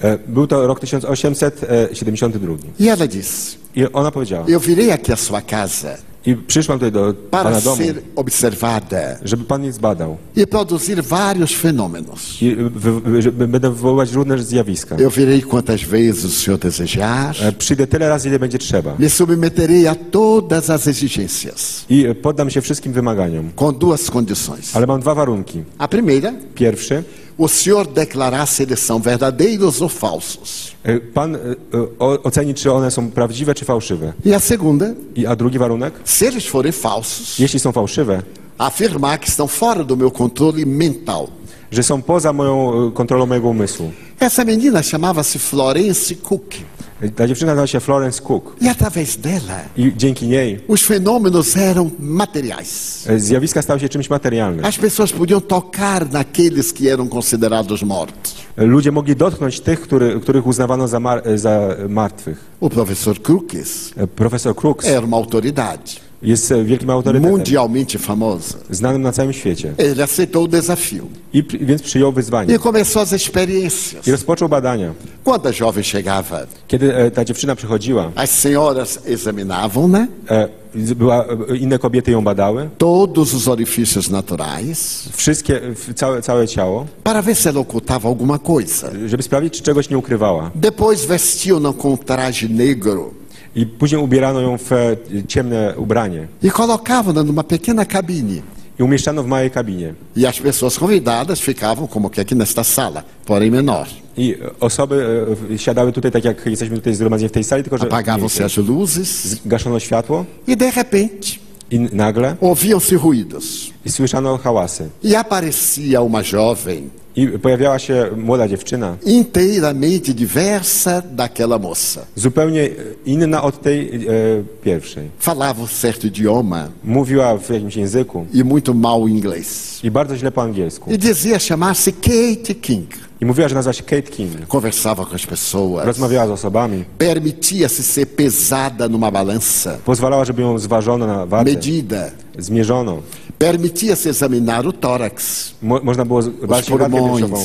[SPEAKER 2] E, Był to rok 1872.
[SPEAKER 3] E ela disse:
[SPEAKER 2] I ona powiedziała,
[SPEAKER 3] Eu virei aqui à sua casa
[SPEAKER 2] i przyszłam tutaj do
[SPEAKER 3] para
[SPEAKER 2] pana domu,
[SPEAKER 3] ser observada
[SPEAKER 2] żeby pan mnie zbadał.
[SPEAKER 3] e produzir vários fenômenos.
[SPEAKER 2] I wy, wy, żeby- będę wywoływać różne zjawiska.
[SPEAKER 3] Eu virei quantas vezes o senhor desejar,
[SPEAKER 2] E, Przyjdę tyle razy, ile będzie trzeba.
[SPEAKER 3] me submeterei a todas as exigências,
[SPEAKER 2] I e, poddam się wszystkim wymaganiom.
[SPEAKER 3] com duas condições.
[SPEAKER 2] Ale mam dwa warunki.
[SPEAKER 3] A primeira,
[SPEAKER 2] Pierwszy,
[SPEAKER 3] o senhor declarar se eles são verdadeiros ou falsos.
[SPEAKER 2] e, pan e, e, o- oceni, czy one są prawdziwe, czy fałszywe.
[SPEAKER 3] E a segunda,
[SPEAKER 2] I, a drugi warunek,
[SPEAKER 3] se eles forem falsos,
[SPEAKER 2] jeśli są fałszywe,
[SPEAKER 3] afirmar que estão fora do meu controle mental.
[SPEAKER 2] że są poza moją e, kontrolą mojego umysłu.
[SPEAKER 3] Essa menina chamava-se Florence Cook.
[SPEAKER 2] E, Ta dziewczyna nazywa się Florence Cook.
[SPEAKER 3] E através dela,
[SPEAKER 2] I dzięki niej
[SPEAKER 3] os fenômenos eram materiais.
[SPEAKER 2] e, zjawiska stały się czymś materialnym.
[SPEAKER 3] As pessoas podiam tocar naqueles que eram considerados mortos.
[SPEAKER 2] E, Ludzie mogli dotknąć tych, który, których uznawano za, mar- e, za martwych.
[SPEAKER 3] O professor Crookes
[SPEAKER 2] E, Profesor Crooks
[SPEAKER 3] era uma autoridade
[SPEAKER 2] jest e, wielkim autorytetem,
[SPEAKER 3] mundialmente famosa.
[SPEAKER 2] znanym na całym świecie.
[SPEAKER 3] Ele aceitou o desafio
[SPEAKER 2] I pr- więc przyjął wyzwanie.
[SPEAKER 3] e começou as
[SPEAKER 2] I
[SPEAKER 3] experiências.
[SPEAKER 2] rozpoczął badania.
[SPEAKER 3] Quando a jovem chegava,
[SPEAKER 2] Kiedy e, ta dziewczyna przychodziła,
[SPEAKER 3] as senhoras examinavam-na,
[SPEAKER 2] e, z- była, e, inne kobiety ją badały,
[SPEAKER 3] todos os orifícios naturais,
[SPEAKER 2] wszystkie, w- całe, całe ciało,
[SPEAKER 3] para ver se ela ocultava alguma coisa.
[SPEAKER 2] żeby sprawdzić, czy czegoś nie ukrywała.
[SPEAKER 3] Depois vestiam-na com um traje negro
[SPEAKER 2] I później ubierano ją w e, ciemne ubranie
[SPEAKER 3] e colocavam-na numa pequena cabine.
[SPEAKER 2] i umieszczano w małej kabinie.
[SPEAKER 3] E as pessoas convidadas ficavam, como que aqui nesta sala, porém menor.
[SPEAKER 2] I osoby e, siadały tutaj, tak jak jesteśmy tutaj zgromadzeni w tej sali, tylko że
[SPEAKER 3] Apagavam-se as luzes
[SPEAKER 2] gaszono światło
[SPEAKER 3] e, de repente,
[SPEAKER 2] i nagle
[SPEAKER 3] ouviam-se ruídos.
[SPEAKER 2] i słyszano hałasy.
[SPEAKER 3] E aparecia uma jovem
[SPEAKER 2] I pojawiała się młoda dziewczyna,
[SPEAKER 3] inteiramente diversa daquela moça.
[SPEAKER 2] zupełnie inna od tej e, pierwszej.
[SPEAKER 3] Falava um certo idioma
[SPEAKER 2] Mówiła w jakimś języku
[SPEAKER 3] e muito mal inglês.
[SPEAKER 2] i bardzo źle po angielsku.
[SPEAKER 3] E dizia chamar-se Kate King.
[SPEAKER 2] I mówiła, że nazywa się Kate King.
[SPEAKER 3] Conversava com as pessoas.
[SPEAKER 2] Rozmawiała z osobami,
[SPEAKER 3] Permitia-se ser pesada numa balança.
[SPEAKER 2] pozwalała, żeby ją zważono na wadze,
[SPEAKER 3] Medida.
[SPEAKER 2] zmierzono.
[SPEAKER 3] Permitia-se examinar o tórax,
[SPEAKER 2] Mo można było zobaczyć wadkę
[SPEAKER 3] pulmões.
[SPEAKER 2] piersiową,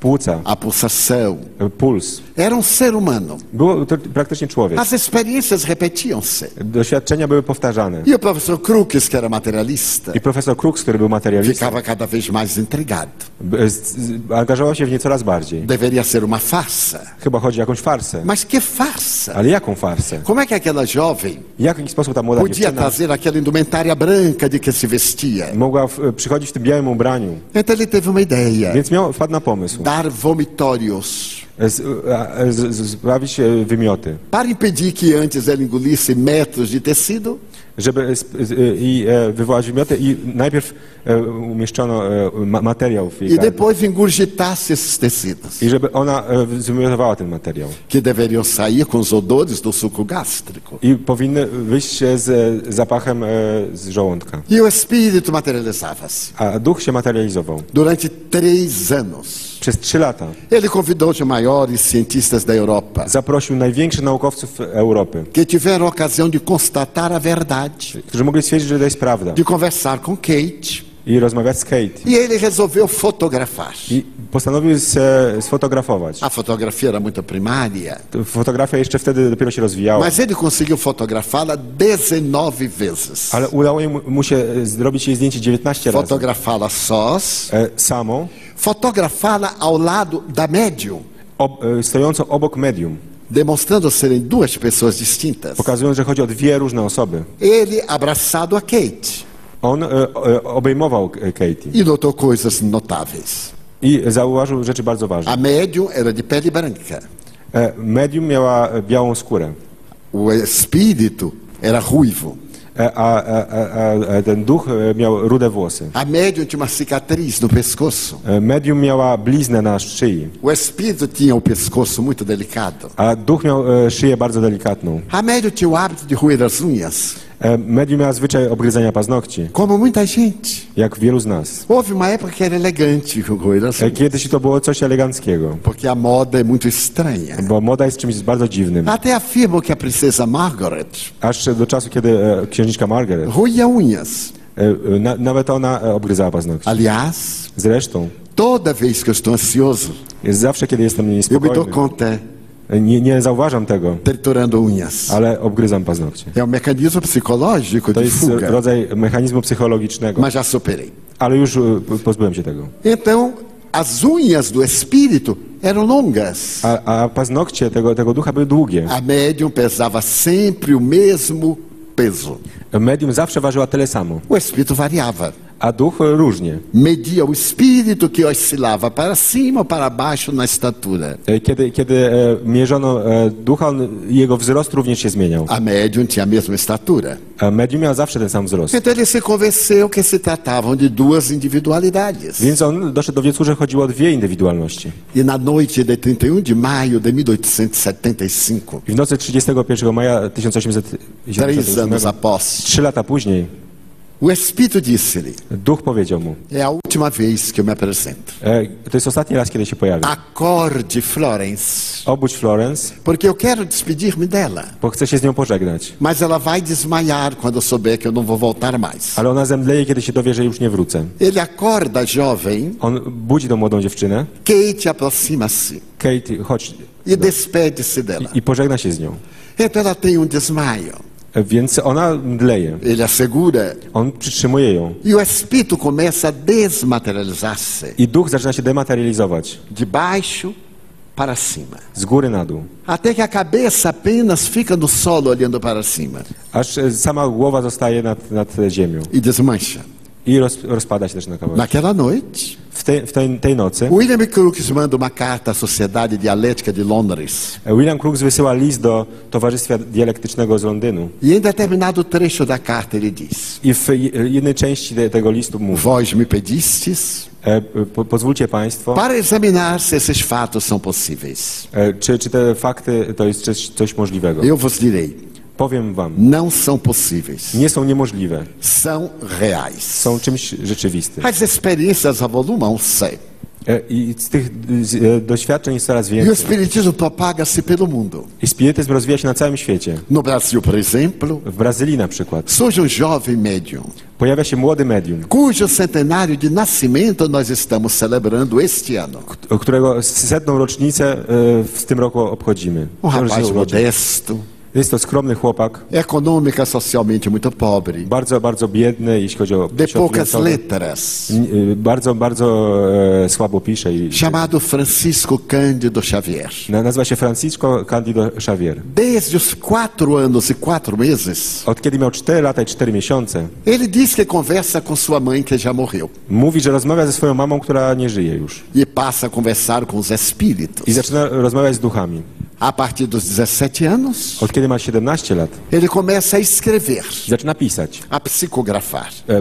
[SPEAKER 2] płuca,
[SPEAKER 3] a pulsação.
[SPEAKER 2] e, puls.
[SPEAKER 3] Era um ser humano.
[SPEAKER 2] Było to praktycznie człowiek.
[SPEAKER 3] As experiências repetiam-se.
[SPEAKER 2] Doświadczenia były powtarzane.
[SPEAKER 3] E o professor Crookes, que era materialista,
[SPEAKER 2] I profesor Crooks, który był materialistą,
[SPEAKER 3] ficava cada vez mais intrigado.
[SPEAKER 2] b- z- z- angażował się w nie coraz bardziej.
[SPEAKER 3] Deveria ser uma farsa.
[SPEAKER 2] Chyba chodzi o jakąś farsę.
[SPEAKER 3] Mas que farsa!
[SPEAKER 2] Ale jaką farsę?
[SPEAKER 3] Como é que aquela jovem
[SPEAKER 2] W jaki sposób ta młoda
[SPEAKER 3] podia
[SPEAKER 2] dziewczyna
[SPEAKER 3] trazer aquela indumentária branca de que se vestia?
[SPEAKER 2] mogła w, e, przychodzić w tym białym ubraniu?
[SPEAKER 3] Então ele teve uma ideia:
[SPEAKER 2] Więc miał, wpadł na pomysł. e,
[SPEAKER 3] dar vomitórios
[SPEAKER 2] Z, a- z, z, sprawić e, wymioty.
[SPEAKER 3] para impedir que antes ela engolisse metros de tecido.
[SPEAKER 2] Żeby sp- z- e, i e, wywołać wymioty i najpierw e, umieszczono e, ma, materiał w jej
[SPEAKER 3] E
[SPEAKER 2] gardle.
[SPEAKER 3] depois engurgitasse esses tecidos,
[SPEAKER 2] I żeby ona e, wymiotowała ten materiał.
[SPEAKER 3] que deveriam sair com os odores do suco gástrico.
[SPEAKER 2] I powinny wyjść się z e, zapachem e, z żołądka.
[SPEAKER 3] E o espírito materializava-se.
[SPEAKER 2] A duch się materializował.
[SPEAKER 3] Durante três anos,
[SPEAKER 2] Przez trzy lata
[SPEAKER 3] ele convidou os maiores cientistas da Europa,
[SPEAKER 2] zaprosił największych naukowców Europy,
[SPEAKER 3] que tiveram a ocasião de constatar a verdade,
[SPEAKER 2] którzy mogli stwierdzić, że to jest prawda
[SPEAKER 3] de conversar com Kate.
[SPEAKER 2] i rozmawiać z Kate.
[SPEAKER 3] E ele resolveu fotografar.
[SPEAKER 2] I postanowił se sfotografować.
[SPEAKER 3] A fotografia era muito primária,
[SPEAKER 2] Fotografia jeszcze wtedy dopiero się rozwijała,
[SPEAKER 3] mas ele conseguiu fotografá-la 19 vezes.
[SPEAKER 2] ale udało mu mu się e, zrobić jej zdjęcie 19 razy.
[SPEAKER 3] Fotografá-la sós,
[SPEAKER 2] E, Samą,
[SPEAKER 3] fotografá-la ao lado da médium,
[SPEAKER 2] ob, e, stojącą obok medium,
[SPEAKER 3] demonstrando serem duas pessoas distintas.
[SPEAKER 2] pokazując, że chodzi o dwie różne osoby.
[SPEAKER 3] Ele abraçado a Kate
[SPEAKER 2] On e, e, obejmował e, Katie
[SPEAKER 3] e notou coisas notáveis.
[SPEAKER 2] i zauważył rzeczy bardzo ważne.
[SPEAKER 3] A médium era de pele branca,
[SPEAKER 2] E, Medium miała e, białą skórę,
[SPEAKER 3] o espírito era ruivo.
[SPEAKER 2] e, a, a, a, a ten duch e, miał rude włosy.
[SPEAKER 3] A médium tinha uma cicatriz no pescoço.
[SPEAKER 2] E, Medium miała bliznę na szyi,
[SPEAKER 3] O espírito tinha o pescoço muito delicado.
[SPEAKER 2] a duch miał e, szyję bardzo delikatną.
[SPEAKER 3] A médium tinha o hábito de roer as unhas,
[SPEAKER 2] E, Medium miała zwyczaj obgryzania paznokci,
[SPEAKER 3] como muita gente.
[SPEAKER 2] jak wielu z nas.
[SPEAKER 3] Houve uma época que era elegante roer as
[SPEAKER 2] E,
[SPEAKER 3] unhas,
[SPEAKER 2] Kiedyś to było coś eleganckiego,
[SPEAKER 3] porque a moda é muito estranha.
[SPEAKER 2] bo moda jest czymś bardzo dziwnym.
[SPEAKER 3] Até afirmam que a princesa Margaret
[SPEAKER 2] Aż do czasu, kiedy e, księżniczka Margaret,
[SPEAKER 3] roía unhas.
[SPEAKER 2] e, e, na, nawet ona e, obgryzała paznokcie.
[SPEAKER 3] Aliás,
[SPEAKER 2] Zresztą,
[SPEAKER 3] toda vez que eu estou ansioso,
[SPEAKER 2] jest zawsze, kiedy jestem
[SPEAKER 3] eu me dou
[SPEAKER 2] niespokojny,
[SPEAKER 3] conta
[SPEAKER 2] e, nie, nie zauważam tego,
[SPEAKER 3] triturando unhas.
[SPEAKER 2] ale obgryzam paznokcie.
[SPEAKER 3] É um mecanismo psicológico
[SPEAKER 2] To
[SPEAKER 3] de
[SPEAKER 2] jest
[SPEAKER 3] fuga,
[SPEAKER 2] rodzaj mechanizmu psychologicznego,
[SPEAKER 3] mas já superei.
[SPEAKER 2] ale już e, p- pozbyłem się tego.
[SPEAKER 3] Então, as unhas do espírito eram longas.
[SPEAKER 2] A, a paznokcie tego, tego ducha były długie.
[SPEAKER 3] A médium pesava sempre o mesmo peso.
[SPEAKER 2] Medium zawsze ważyła tyle samo,
[SPEAKER 3] O espírito variava.
[SPEAKER 2] a duch e, różnie.
[SPEAKER 3] Media o espírito que oscilava para cima ou para baixo na estatura.
[SPEAKER 2] E, Kiedy, kiedy e, mierzono e, ducha, on, jego wzrost również się zmieniał.
[SPEAKER 3] A médium tinha a mesma estatura.
[SPEAKER 2] A medium miał zawsze ten sam wzrost.
[SPEAKER 3] Então ele se convenceu que se tratavam de duas individualidades.
[SPEAKER 2] Więc on doszedł do wniosku, że chodziło o dwie indywidualności.
[SPEAKER 3] E na noite de 31 de maio de 1875,
[SPEAKER 2] I w nocy 31 maja 1870
[SPEAKER 3] três anos após,
[SPEAKER 2] trzy lata później,
[SPEAKER 3] o espírito disse-lhe:
[SPEAKER 2] duch powiedział mu,
[SPEAKER 3] É a última vez que eu me apresento.
[SPEAKER 2] e, to jest ostatni raz, kiedy się pojawi.
[SPEAKER 3] Acorde, Florence,
[SPEAKER 2] Obudź Florence,
[SPEAKER 3] porque eu quero despedir-me dela.
[SPEAKER 2] bo chce się z nią pożegnać.
[SPEAKER 3] Mas ela vai desmaiar quando eu souber que eu não vou voltar mais.
[SPEAKER 2] Ale ona zemdleje, kiedy się dowie, że już nie wrócę.
[SPEAKER 3] Ele acorda, jovem.
[SPEAKER 2] On budzi tą młodą dziewczynę.
[SPEAKER 3] Kate aproxima-se
[SPEAKER 2] Kate, chodź.
[SPEAKER 3] e despede-se dela.
[SPEAKER 2] I, I pożegna się z nią.
[SPEAKER 3] Então ela tem um desmaio.
[SPEAKER 2] E, Więc ona mdleje.
[SPEAKER 3] Ele a segura
[SPEAKER 2] On przytrzymuje ją.
[SPEAKER 3] e o espírito começa a desmaterializar-se
[SPEAKER 2] I duch zaczyna się dematerializować.
[SPEAKER 3] de baixo para cima.
[SPEAKER 2] Z góry na dół.
[SPEAKER 3] Até que a cabeça apenas fica no solo olhando para cima
[SPEAKER 2] Aż e, sama głowa zostaje nad, nad ziemią.
[SPEAKER 3] e desmancha.
[SPEAKER 2] I roz, rozpada się też na kawałek.
[SPEAKER 3] Naquela noite,
[SPEAKER 2] W tej, w tej, tej nocy
[SPEAKER 3] William Crookes manda uma carta à Sociedade Dialética de Londres.
[SPEAKER 2] William Crookes wysyła list do Towarzystwa Dialektycznego z Londynu.
[SPEAKER 3] E em determinado trecho da carta ele diz:
[SPEAKER 2] I w jednej części te- tego listu mówi:
[SPEAKER 3] Vós me pedistes
[SPEAKER 2] e, po, Pozwólcie Państwo,
[SPEAKER 3] para examinar se esses fatos são possíveis.
[SPEAKER 2] e, czy, czy te fakty to jest coś, coś możliwego.
[SPEAKER 3] Eu vos direi:
[SPEAKER 2] Powiem Wam,
[SPEAKER 3] não são possíveis,
[SPEAKER 2] nie są niemożliwe,
[SPEAKER 3] são reais.
[SPEAKER 2] są czymś rzeczywistym.
[SPEAKER 3] As experiências avolumam-se.
[SPEAKER 2] E, I z tych z, e, doświadczeń jest coraz
[SPEAKER 3] E o
[SPEAKER 2] więcej.
[SPEAKER 3] espiritismo propaga-se pelo mundo.
[SPEAKER 2] I spirityzm rozwija się na całym świecie.
[SPEAKER 3] No Brasil, por exemplo,
[SPEAKER 2] W Brazylii na przykład
[SPEAKER 3] surge um jovem médium,
[SPEAKER 2] pojawia się młody medium,
[SPEAKER 3] cujo centenário de nascimento nós estamos celebrando este ano.
[SPEAKER 2] k- którego setną rocznicę e, w tym roku obchodzimy.
[SPEAKER 3] Um
[SPEAKER 2] Może się
[SPEAKER 3] rapaz
[SPEAKER 2] urodzi.
[SPEAKER 3] modesto,
[SPEAKER 2] Jest to skromny chłopak,
[SPEAKER 3] econômica, socialmente muito pobre,
[SPEAKER 2] bardzo, bardzo biedny, jeśli chodzi o...
[SPEAKER 3] de
[SPEAKER 2] środki
[SPEAKER 3] poucas
[SPEAKER 2] finansowe.
[SPEAKER 3] letras,
[SPEAKER 2] N- y, Bardzo, bardzo e, słabo pisze. I,
[SPEAKER 3] chamado Francisco Cândido Xavier.
[SPEAKER 2] na, nazywa się Francisco Candido Xavier.
[SPEAKER 3] Desde os quatro anos e quatro meses,
[SPEAKER 2] Od kiedy miał 4 lata i 4 miesiące,
[SPEAKER 3] ele diz que conversa com sua mãe que já morreu
[SPEAKER 2] mówi, że rozmawia ze swoją mamą, która nie żyje już.
[SPEAKER 3] e passa a conversar com os espíritos.
[SPEAKER 2] I zaczyna rozmawiać z duchami.
[SPEAKER 3] A partir dos 17 anos,
[SPEAKER 2] Od kiedy ma 17 lat,
[SPEAKER 3] ele começa a escrever,
[SPEAKER 2] zaczyna pisać
[SPEAKER 3] a psicografar,
[SPEAKER 2] e,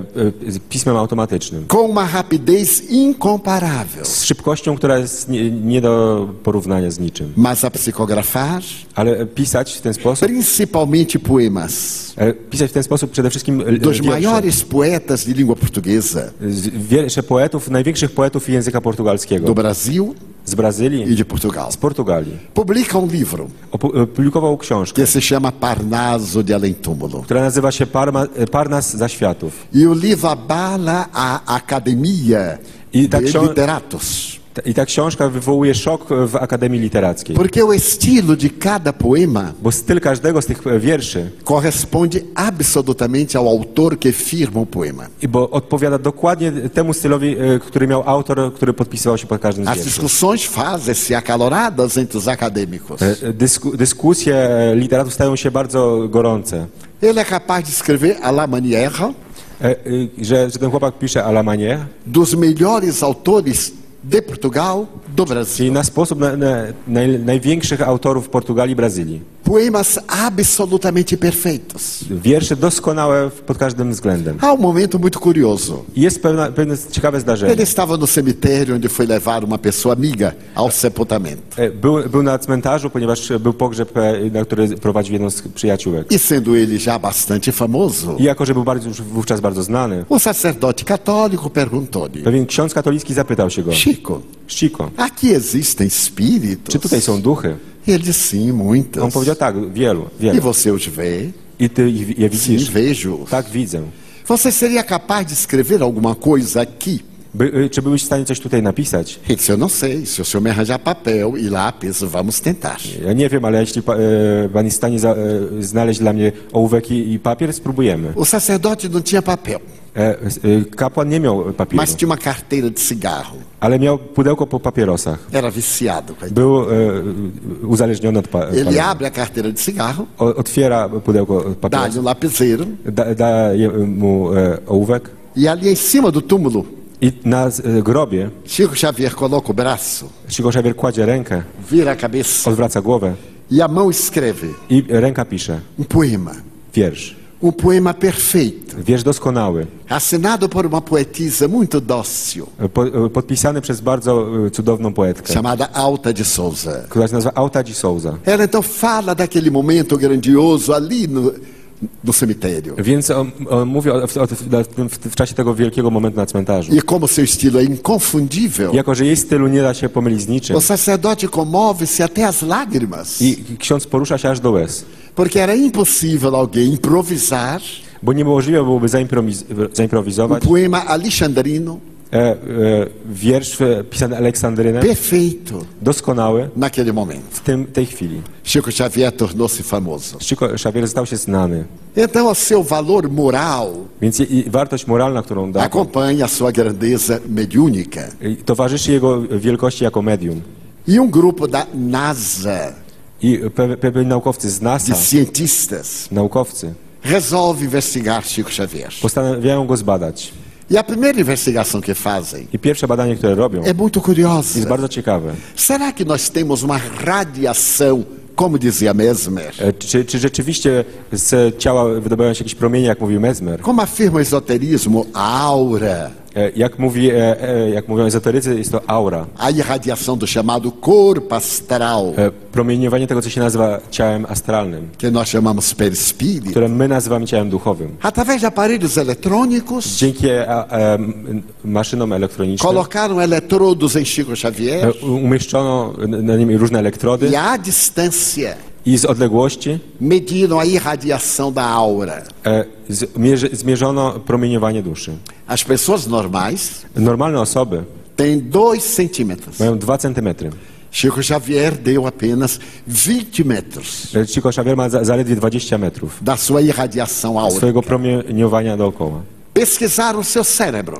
[SPEAKER 2] e, z pismem automatycznym.
[SPEAKER 3] com uma rapidez incomparável.
[SPEAKER 2] Z szybkością, która jest nie, nie do porównania z niczym.
[SPEAKER 3] Mas a psicografar,
[SPEAKER 2] Ale pisać w ten sposób,
[SPEAKER 3] principalmente poemas,
[SPEAKER 2] e, pisać w ten sposób przede wszystkim e,
[SPEAKER 3] dos
[SPEAKER 2] wiersze.
[SPEAKER 3] maiores poetas de língua portuguesa
[SPEAKER 2] Z- wiersze poetów, największych poetów języka
[SPEAKER 3] do
[SPEAKER 2] portugalskiego.
[SPEAKER 3] Brasil
[SPEAKER 2] Z
[SPEAKER 3] e
[SPEAKER 2] Brazylii,
[SPEAKER 3] de Portugal.
[SPEAKER 2] z Portugalii.
[SPEAKER 3] Publica um livro
[SPEAKER 2] Opu- Opublikował książkę,
[SPEAKER 3] que se chama Parnaso de Além Túmulo.
[SPEAKER 2] która nazywa się Parma, Parnas Zaświatów.
[SPEAKER 3] E o livro abala a academia
[SPEAKER 2] E da
[SPEAKER 3] de
[SPEAKER 2] ksią-
[SPEAKER 3] literatos.
[SPEAKER 2] T- I ta książka wywołuje szok w Akademii Literackiej,
[SPEAKER 3] Porque o estilo de cada poema
[SPEAKER 2] bo styl każdego z tych e, wierszy,
[SPEAKER 3] corresponde absolutamente ao autor que firma o poema.
[SPEAKER 2] i bo odpowiada dokładnie temu stylowi, e, który miał autor, który podpisywał się pod każdym z
[SPEAKER 3] As
[SPEAKER 2] wierszy.
[SPEAKER 3] discussões fazem-se acaloradas entre os acadêmicos.
[SPEAKER 2] E, Dysku, dyskusje e, literatów stają się bardzo gorące,
[SPEAKER 3] Ele é capaz de escrever à la manière
[SPEAKER 2] E, y, że, że ten chłopak pisze à la manière,
[SPEAKER 3] dos melhores autores de Portugal, do Brasil.
[SPEAKER 2] czyli na sposób na, na, naj- największych autorów Portugalii i Brazylii.
[SPEAKER 3] Poemas absolutamente perfeitos.
[SPEAKER 2] Wiersze doskonałe w- pod każdym względem.
[SPEAKER 3] Há um momento muito curioso.
[SPEAKER 2] I Jest pewna, pewne ciekawe
[SPEAKER 3] Ele
[SPEAKER 2] zdarzenie.
[SPEAKER 3] estava no cemitério onde foi levar uma pessoa amiga ao sepultamento.
[SPEAKER 2] E, Był, był na cmentarzu, ponieważ e, był pogrzeb, e, na który prowadził jedną z przyjaciółek.
[SPEAKER 3] E sendo ele já bastante famoso,
[SPEAKER 2] I jako, że był bardzo, już wówczas bardzo znany,
[SPEAKER 3] o sacerdote católico perguntou-lhe:
[SPEAKER 2] pewien ksiądz katolicki zapytał się go,
[SPEAKER 3] Chico,
[SPEAKER 2] Chico,
[SPEAKER 3] Aqui existem espíritos.
[SPEAKER 2] czy tutaj są duchy?
[SPEAKER 3] Ele disse, sim, muitos.
[SPEAKER 2] On powiedział tak, wielu,
[SPEAKER 3] E
[SPEAKER 2] wielu.
[SPEAKER 3] você os vê?
[SPEAKER 2] I ty ich- je
[SPEAKER 3] Sim,
[SPEAKER 2] widzisz?
[SPEAKER 3] vejo.
[SPEAKER 2] Tak, widzę.
[SPEAKER 3] Você seria capaz de escrever alguma coisa aqui?
[SPEAKER 2] By, y, czy byłeś w stanie coś tutaj napisać?
[SPEAKER 3] Ele disse, eu não sei. Se o senhor me arranjar papel e lápis, vamos tentar.
[SPEAKER 2] Ja nie wiem, ale jeśli pa, e, pan jest w stanie za, e, znaleźć dla mnie ołówek i, i papier, spróbujemy.
[SPEAKER 3] O sacerdote não tinha papel,
[SPEAKER 2] E, s- e, kapłan nie miał papieru,
[SPEAKER 3] mas tinha uma carteira de cigarro.
[SPEAKER 2] ale miał pudełko po papierosach.
[SPEAKER 3] Era viciado. coitado.
[SPEAKER 2] Był e, uzależniony od pa,
[SPEAKER 3] Ele
[SPEAKER 2] paliwa.
[SPEAKER 3] abre a carteira de cigarro,
[SPEAKER 2] O- Otwiera pudełko
[SPEAKER 3] dá-lhe
[SPEAKER 2] papierosa,
[SPEAKER 3] um lapiseiro
[SPEAKER 2] da, daje mu e, ołówek
[SPEAKER 3] e ali em cima do túmulo,
[SPEAKER 2] i na e, grobie
[SPEAKER 3] Chico Xavier coloca o braço,
[SPEAKER 2] Chico Xavier kładzie rękę,
[SPEAKER 3] vira a cabeça
[SPEAKER 2] odwraca głowę
[SPEAKER 3] e a mão escreve
[SPEAKER 2] i ręka pisze
[SPEAKER 3] um poema.
[SPEAKER 2] wiersz.
[SPEAKER 3] Um poema perfeito,
[SPEAKER 2] Wiersz doskonały,
[SPEAKER 3] assinado por uma poetisa muito dócil,
[SPEAKER 2] po, e, podpisany przez bardzo e, cudowną poetkę,
[SPEAKER 3] chamada Alta de Souza.
[SPEAKER 2] która się nazywa Auta de Souza.
[SPEAKER 3] Ela então fala daquele momento grandioso ali no, no cemitério.
[SPEAKER 2] Więc on, on mówi o, o, o, tym- w, w czasie tego wielkiego momentu na cmentarzu.
[SPEAKER 3] E como seu estilo é inconfundível,
[SPEAKER 2] Jako, że jej stylu nie da się pomylić z niczym
[SPEAKER 3] o sacerdote comove-se até às lágrimas,
[SPEAKER 2] i ksiądz porusza się aż do łez,
[SPEAKER 3] porque era impossível alguém improvisar
[SPEAKER 2] bo niemożliwe byłoby zaimprowiz-
[SPEAKER 3] um
[SPEAKER 2] zaimprowizować
[SPEAKER 3] poema alexandrino
[SPEAKER 2] e, e, wiersz e, pisany Aleksandrynem,
[SPEAKER 3] perfeito
[SPEAKER 2] doskonały
[SPEAKER 3] naquele momento.
[SPEAKER 2] w tym, tej chwili.
[SPEAKER 3] Chico Xavier tornou-se famoso.
[SPEAKER 2] Chico Xavier stał się znany,
[SPEAKER 3] Então, o seu valor moral
[SPEAKER 2] więc i, i wartość moralna, którą da,
[SPEAKER 3] acompanha a sua grandeza mediúnica.
[SPEAKER 2] I towarzyszy jego wielkości jako medium.
[SPEAKER 3] E um grupo da NASA,
[SPEAKER 2] I pe- pewni naukowcy z
[SPEAKER 3] de
[SPEAKER 2] NASA,
[SPEAKER 3] cientistas,
[SPEAKER 2] naukowcy,
[SPEAKER 3] resolve investigar Chico Xavier.
[SPEAKER 2] postanawiają go zbadać.
[SPEAKER 3] E a primeira investigação que fazem
[SPEAKER 2] I pierwsze badanie, które robią,
[SPEAKER 3] é muito curiosa.
[SPEAKER 2] jest bardzo ciekawe.
[SPEAKER 3] Será que nós temos uma radiação, como dizia Mesmer?
[SPEAKER 2] E, Czy, czy rzeczywiście z ciała wydobywają się jakieś promienie, jak mówił Mesmer?
[SPEAKER 3] Como afirma o esoterismo, a aura,
[SPEAKER 2] E, Jak, mówi, e, e, jak mówią ezoterycy, jest to aura.
[SPEAKER 3] a irradiação do chamado corpo astral,
[SPEAKER 2] E, Promieniowanie tego, co się nazywa ciałem astralnym,
[SPEAKER 3] que nós chamamos perispírito,
[SPEAKER 2] które my nazywamy ciałem duchowym.
[SPEAKER 3] através de aparelhos eletrônicos,
[SPEAKER 2] Dzięki e, e, m- maszynom elektronicznym
[SPEAKER 3] colocaram eletrodos em Chico
[SPEAKER 2] e,
[SPEAKER 3] Xavier
[SPEAKER 2] u- umieszczono na nim różne elektrody
[SPEAKER 3] e à distância
[SPEAKER 2] i z odległości
[SPEAKER 3] mediram a irradiação da aura.
[SPEAKER 2] e, zmierzy- zmierzono promieniowanie duszy.
[SPEAKER 3] As pessoas normais
[SPEAKER 2] Normalne osoby
[SPEAKER 3] têm dois centímetros.
[SPEAKER 2] mają 2 centymetry.
[SPEAKER 3] Chico Xavier deu apenas 20 metros
[SPEAKER 2] E, Chico Xavier ma za, zaledwie 20 metrów
[SPEAKER 3] da sua irradiação aura.
[SPEAKER 2] swojego promieniowania dookoła.
[SPEAKER 3] Pesquisaram o seu cérebro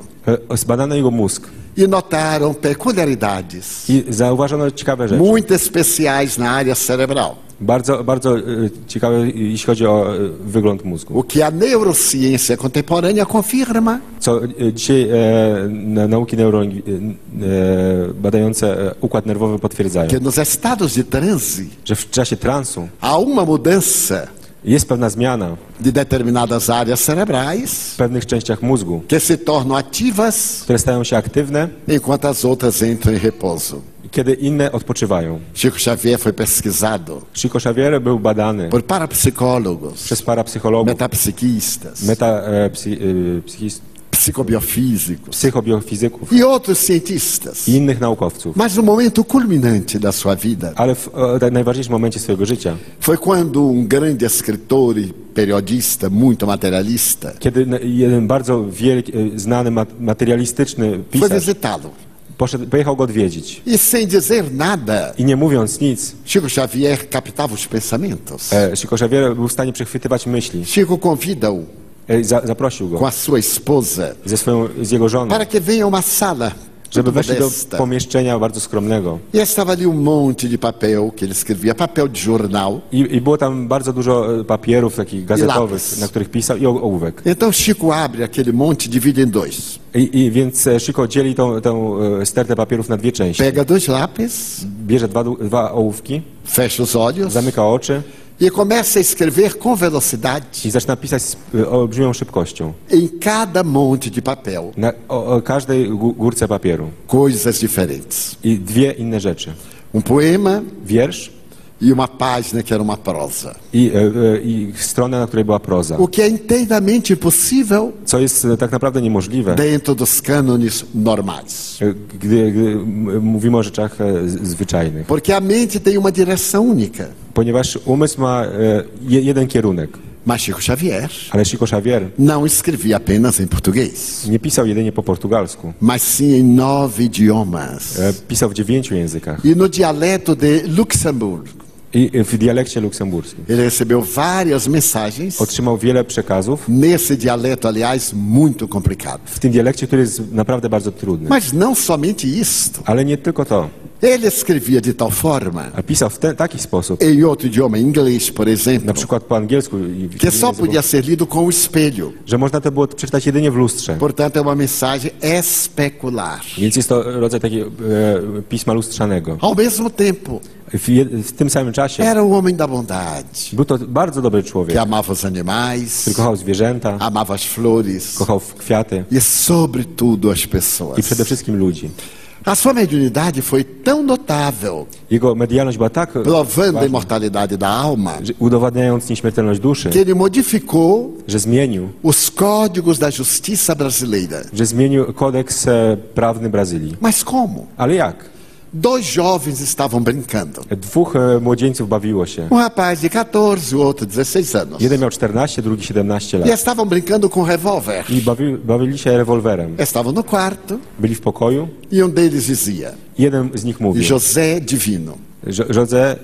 [SPEAKER 2] E, Zbadano jego mózg
[SPEAKER 3] e notaram peculiaridades
[SPEAKER 2] i zauważono ciekawe rzeczy.
[SPEAKER 3] muito especiais na área cerebral,
[SPEAKER 2] Bardzo, bardzo e, ciekawe, jeśli chodzi o e, wygląd mózgu.
[SPEAKER 3] o que a neurociência contemporânea confirma.
[SPEAKER 2] Co e, dzisiaj e, na- nauki neurolingi- e, badające e, układ nerwowy potwierdzają,
[SPEAKER 3] Que nos estados de transe
[SPEAKER 2] że w czasie transu
[SPEAKER 3] há uma mudança
[SPEAKER 2] jest pewna zmiana
[SPEAKER 3] de determinadas áreas cerebrais
[SPEAKER 2] w pewnych częściach mózgu,
[SPEAKER 3] que se tornam ativas
[SPEAKER 2] które stają się aktywne,
[SPEAKER 3] enquanto as outras entram em repouso.
[SPEAKER 2] kiedy inne odpoczywają.
[SPEAKER 3] Chico Xavier foi pesquisado
[SPEAKER 2] Chico Xavier był badany
[SPEAKER 3] por parapsicólogos,
[SPEAKER 2] przez parapsychologów,
[SPEAKER 3] metapsiquistas,
[SPEAKER 2] meta, e, psy, e, psychis-
[SPEAKER 3] psicobiofísicos
[SPEAKER 2] psychobiofizyków
[SPEAKER 3] e outros cientistas.
[SPEAKER 2] i innych naukowców.
[SPEAKER 3] Mas no momento culminante da sua vida
[SPEAKER 2] Ale w e, najważniejszym momencie swojego życia,
[SPEAKER 3] foi quando um grande escritor e periodista, muito materialista,
[SPEAKER 2] kiedy n- jeden bardzo wielki, e, znany, mat- materialistyczny
[SPEAKER 3] foi
[SPEAKER 2] pisarz
[SPEAKER 3] visitá-lo.
[SPEAKER 2] poszedł, pojechał go odwiedzić.
[SPEAKER 3] E sem dizer nada,
[SPEAKER 2] I nie mówiąc nic,
[SPEAKER 3] Chico Xavier captava os pensamentos. É.
[SPEAKER 2] e, Chico Xavier był w stanie przechwytywać myśli.
[SPEAKER 3] Chico convida-o
[SPEAKER 2] E, Za, zaprosił
[SPEAKER 3] com
[SPEAKER 2] go
[SPEAKER 3] a sua esposa
[SPEAKER 2] ze swoją, z jego żoną,
[SPEAKER 3] para que venha a uma sala
[SPEAKER 2] żeby weszli do
[SPEAKER 3] modesta.
[SPEAKER 2] pomieszczenia bardzo skromnego.
[SPEAKER 3] E estava ali um monte de papel que ele escrevia, papel de jornal.
[SPEAKER 2] I, I było tam bardzo dużo e, papierów takich
[SPEAKER 3] I
[SPEAKER 2] gazetowych,
[SPEAKER 3] lapis.
[SPEAKER 2] na których pisał i o- ołówek.
[SPEAKER 3] Então Chico abre aquele monte e divide em dois.
[SPEAKER 2] I, i więc e, Chico dzieli tą, tą e, stertę papierów na dwie części.
[SPEAKER 3] Pega dois lápis,
[SPEAKER 2] Bierze dwa, du- dwa ołówki,
[SPEAKER 3] fecha os olhos
[SPEAKER 2] zamyka oczy
[SPEAKER 3] e começa a escrever com velocidade
[SPEAKER 2] i zaczyna pisać z e, olbrzymią szybkością.
[SPEAKER 3] em cada monte de papel
[SPEAKER 2] Na o, o każdej gó- górce papieru.
[SPEAKER 3] coisas diferentes.
[SPEAKER 2] I dwie inne rzeczy.
[SPEAKER 3] Um poema
[SPEAKER 2] Wiersz
[SPEAKER 3] e uma página que era uma prosa.
[SPEAKER 2] i, e, e, i strona, na której była proza.
[SPEAKER 3] O que é inteiramente impossível
[SPEAKER 2] Co jest e, tak naprawdę niemożliwe,
[SPEAKER 3] dentro dos cânones normais.
[SPEAKER 2] e, gdy, gdy m- mówimy o rzeczach e, z- zwyczajnych.
[SPEAKER 3] Porque a mente tem uma direção única.
[SPEAKER 2] Ponieważ umysł ma e, je- jeden kierunek.
[SPEAKER 3] Mas Chico Xavier
[SPEAKER 2] Ale Chico Xavier
[SPEAKER 3] não escrevia apenas em português,
[SPEAKER 2] nie pisał jedynie po portugalsku.
[SPEAKER 3] mas sim em nove idiomas.
[SPEAKER 2] E, Pisał w dziewięciu językach
[SPEAKER 3] E no dialeto de Luxemburgo.
[SPEAKER 2] i e, w dialekcie luksemburskim.
[SPEAKER 3] Ele recebeu várias mensagens,
[SPEAKER 2] Otrzymał wiele przekazów
[SPEAKER 3] nesse dialeto, aliás, muito complicado.
[SPEAKER 2] w tym dialekcie, który jest naprawdę bardzo trudny.
[SPEAKER 3] Mas não somente isto.
[SPEAKER 2] Ale nie tylko to.
[SPEAKER 3] Ele escrevia de tal forma,
[SPEAKER 2] A pisał w ten, taki sposób,
[SPEAKER 3] em outro idioma, em inglês, por exemplo,
[SPEAKER 2] na przykład po angielsku, i w
[SPEAKER 3] que
[SPEAKER 2] innym
[SPEAKER 3] só
[SPEAKER 2] języku,
[SPEAKER 3] podia ser lido com o espelho.
[SPEAKER 2] że można to było przeczytać jedynie w lustrze.
[SPEAKER 3] Portanto, é uma mensagem especular.
[SPEAKER 2] Więc jest to rodzaj takiego e, pisma lustrzanego.
[SPEAKER 3] Ao mesmo tempo,
[SPEAKER 2] W, je- w tym samym czasie
[SPEAKER 3] era o homem da bondade,
[SPEAKER 2] był to bardzo dobry
[SPEAKER 3] que
[SPEAKER 2] człowiek,
[SPEAKER 3] amava os animais,
[SPEAKER 2] który kochał zwierzęta,
[SPEAKER 3] amava as flores
[SPEAKER 2] kochał w- kwiaty
[SPEAKER 3] e, sobretudo, as
[SPEAKER 2] i
[SPEAKER 3] pessoas.
[SPEAKER 2] przede wszystkim ludzi.
[SPEAKER 3] A sua mediunidade foi tão notável,
[SPEAKER 2] Jego medialność była tak
[SPEAKER 3] provando a
[SPEAKER 2] ważna,
[SPEAKER 3] imortalidade da alma,
[SPEAKER 2] że udowadniając nieśmiertelność duszy,
[SPEAKER 3] que ele modificou
[SPEAKER 2] że zmienił,
[SPEAKER 3] os códigos da justiça brasileira.
[SPEAKER 2] że zmienił kodeks e, prawny Brazylii.
[SPEAKER 3] Mas como?
[SPEAKER 2] Ale jak?
[SPEAKER 3] Dois jovens estavam brincando.
[SPEAKER 2] Dwóch e, młodzieńców bawiło się.
[SPEAKER 3] Um rapaz de 14, o outro 16 anos.
[SPEAKER 2] Jeden miał 14, drugi 17
[SPEAKER 3] E
[SPEAKER 2] lat.
[SPEAKER 3] estavam brincando com um revólver.
[SPEAKER 2] I bawi, bawili się rewolwerem.
[SPEAKER 3] Estavam no quarto
[SPEAKER 2] Byli w pokoju
[SPEAKER 3] e um deles dizia:
[SPEAKER 2] i jeden z nich mówił,
[SPEAKER 3] José Divino,
[SPEAKER 2] że José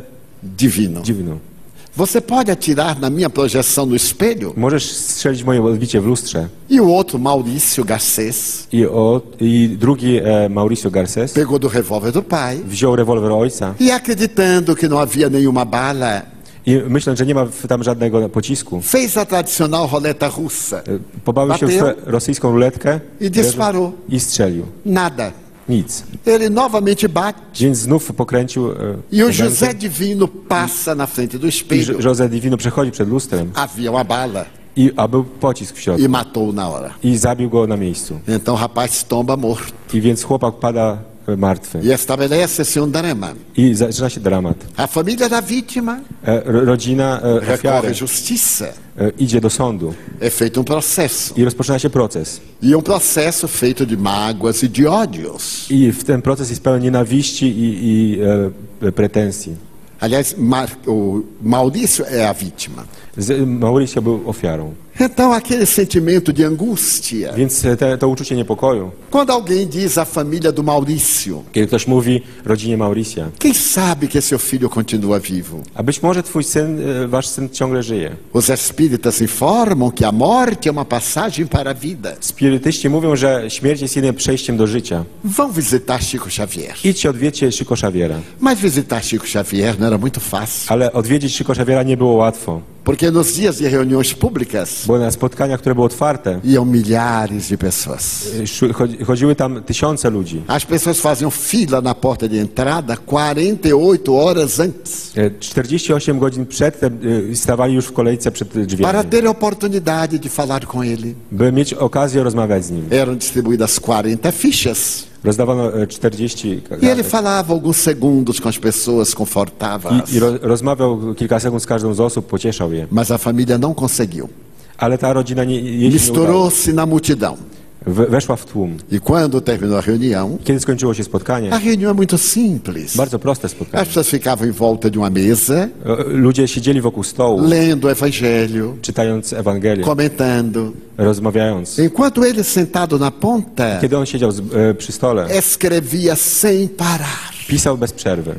[SPEAKER 3] Divino,
[SPEAKER 2] dziwno,
[SPEAKER 3] você pode atirar na minha projeção no espelho?
[SPEAKER 2] możesz strzelić moje odbicie w lustrze.
[SPEAKER 3] E o outro, Maurício Garcês,
[SPEAKER 2] I, o, i drugi e, Mauricio Garces
[SPEAKER 3] pegou do rewólver do pai
[SPEAKER 2] wziął rewolwer ojca
[SPEAKER 3] e, acreditando que não havia nenhuma bala,
[SPEAKER 2] I myśląc, że nie ma w- tam żadnego pocisku, e,
[SPEAKER 3] Fez a tradicional roleta russa.
[SPEAKER 2] pobawił się w
[SPEAKER 3] Bateu.
[SPEAKER 2] tę rosyjską ruletkę
[SPEAKER 3] I disparou.
[SPEAKER 2] i strzelił.
[SPEAKER 3] Nada.
[SPEAKER 2] Nic.
[SPEAKER 3] Ele novamente bate.
[SPEAKER 2] Więc znów pokręcił. e,
[SPEAKER 3] E o
[SPEAKER 2] ręce
[SPEAKER 3] José Divino passa na frente do
[SPEAKER 2] i
[SPEAKER 3] espelho.
[SPEAKER 2] Jo- José Divino przechodzi przed lustrem,
[SPEAKER 3] Havia uma bala
[SPEAKER 2] i, a był pocisk w
[SPEAKER 3] e
[SPEAKER 2] środku.
[SPEAKER 3] matou na hora.
[SPEAKER 2] I zabił go na miejscu.
[SPEAKER 3] Então o rapaz tomba morto.
[SPEAKER 2] I więc chłopak pada e, martwy.
[SPEAKER 3] E estabelece-se um drama.
[SPEAKER 2] I zaczyna się dramat.
[SPEAKER 3] A família da vítima
[SPEAKER 2] E, ro- Rodzina e,
[SPEAKER 3] recorre
[SPEAKER 2] ofiary
[SPEAKER 3] à justiça.
[SPEAKER 2] e, idzie do sądu
[SPEAKER 3] É feito um processo.
[SPEAKER 2] i rozpoczyna się proces.
[SPEAKER 3] E um processo feito de mágoas e de ódios.
[SPEAKER 2] I w ten proces jest pełen nienawiści i, i e, pretensji.
[SPEAKER 3] Aliás, Mar- o Maurício é a vítima.
[SPEAKER 2] Z- e, Mauricio był ofiarą.
[SPEAKER 3] Então, aquele sentimento de angústia.
[SPEAKER 2] Więc e, te, to uczucie niepokoju,
[SPEAKER 3] Quando alguém diz à família do Maurício,
[SPEAKER 2] kiedy ktoś mówi rodzinie Mauricia,
[SPEAKER 3] quem sabe que seu filho continua vivo?
[SPEAKER 2] a być może twój syn, e, wasz syn ciągle żyje.
[SPEAKER 3] Os espíritas informam que a morte é uma passagem para a vida.
[SPEAKER 2] Spirytyści mówią, że śmierć jest jedynym przejściem do życia.
[SPEAKER 3] Vão visitar Chico Xavier.
[SPEAKER 2] Idźcie odwiedźcie Szyko Szawiera.
[SPEAKER 3] Mas visitar Chico Xavier não era muito fácil,
[SPEAKER 2] Ale odwiedzić Szyko Szawiera nie było łatwo,
[SPEAKER 3] porque nos dias de reuniões públicas
[SPEAKER 2] bo na spotkaniach, które były otwarte,
[SPEAKER 3] iam milhares de pessoas.
[SPEAKER 2] e, szły- chodzi- chodziły tam tysiące ludzi.
[SPEAKER 3] As pessoas faziam fila na porta de entrada 48 horas antes
[SPEAKER 2] E, 48 godzin przedtem e, stawali już w kolejce przed
[SPEAKER 3] para
[SPEAKER 2] drzwiami,
[SPEAKER 3] ter a oportunidade de falar com ele.
[SPEAKER 2] by mieć okazję rozmawiać z nim.
[SPEAKER 3] Eram distribuídas 40 fichas
[SPEAKER 2] Rozdawano e, 40 ka-
[SPEAKER 3] e ele falava alguns segundos com as pessoas, confortava
[SPEAKER 2] i, i ro, rozmawiał kilka sekund z każdą z osób, pocieszał je.
[SPEAKER 3] Mas a família não conseguiu.
[SPEAKER 2] Ale ta rodzina nie, jej się nie udało.
[SPEAKER 3] Misturou-se na multidão.
[SPEAKER 2] W- weszła w tłum.
[SPEAKER 3] E quando terminou a reunião,
[SPEAKER 2] Kiedy skończyło się
[SPEAKER 3] a
[SPEAKER 2] spotkanie,
[SPEAKER 3] reunião é muito simples.
[SPEAKER 2] bardzo proste
[SPEAKER 3] As
[SPEAKER 2] spotkanie.
[SPEAKER 3] pessoas ficavam em volta de uma mesa,
[SPEAKER 2] E, Ludzie siedzieli wokół stołu,
[SPEAKER 3] lendo o evangelho,
[SPEAKER 2] czytając Ewangelię,
[SPEAKER 3] comentando.
[SPEAKER 2] rozmawiając.
[SPEAKER 3] Enquanto ele sentado na ponta,
[SPEAKER 2] Kiedy on siedział z, e, przy stole,
[SPEAKER 3] escrevia sem parar.
[SPEAKER 2] pisał bez przerwy.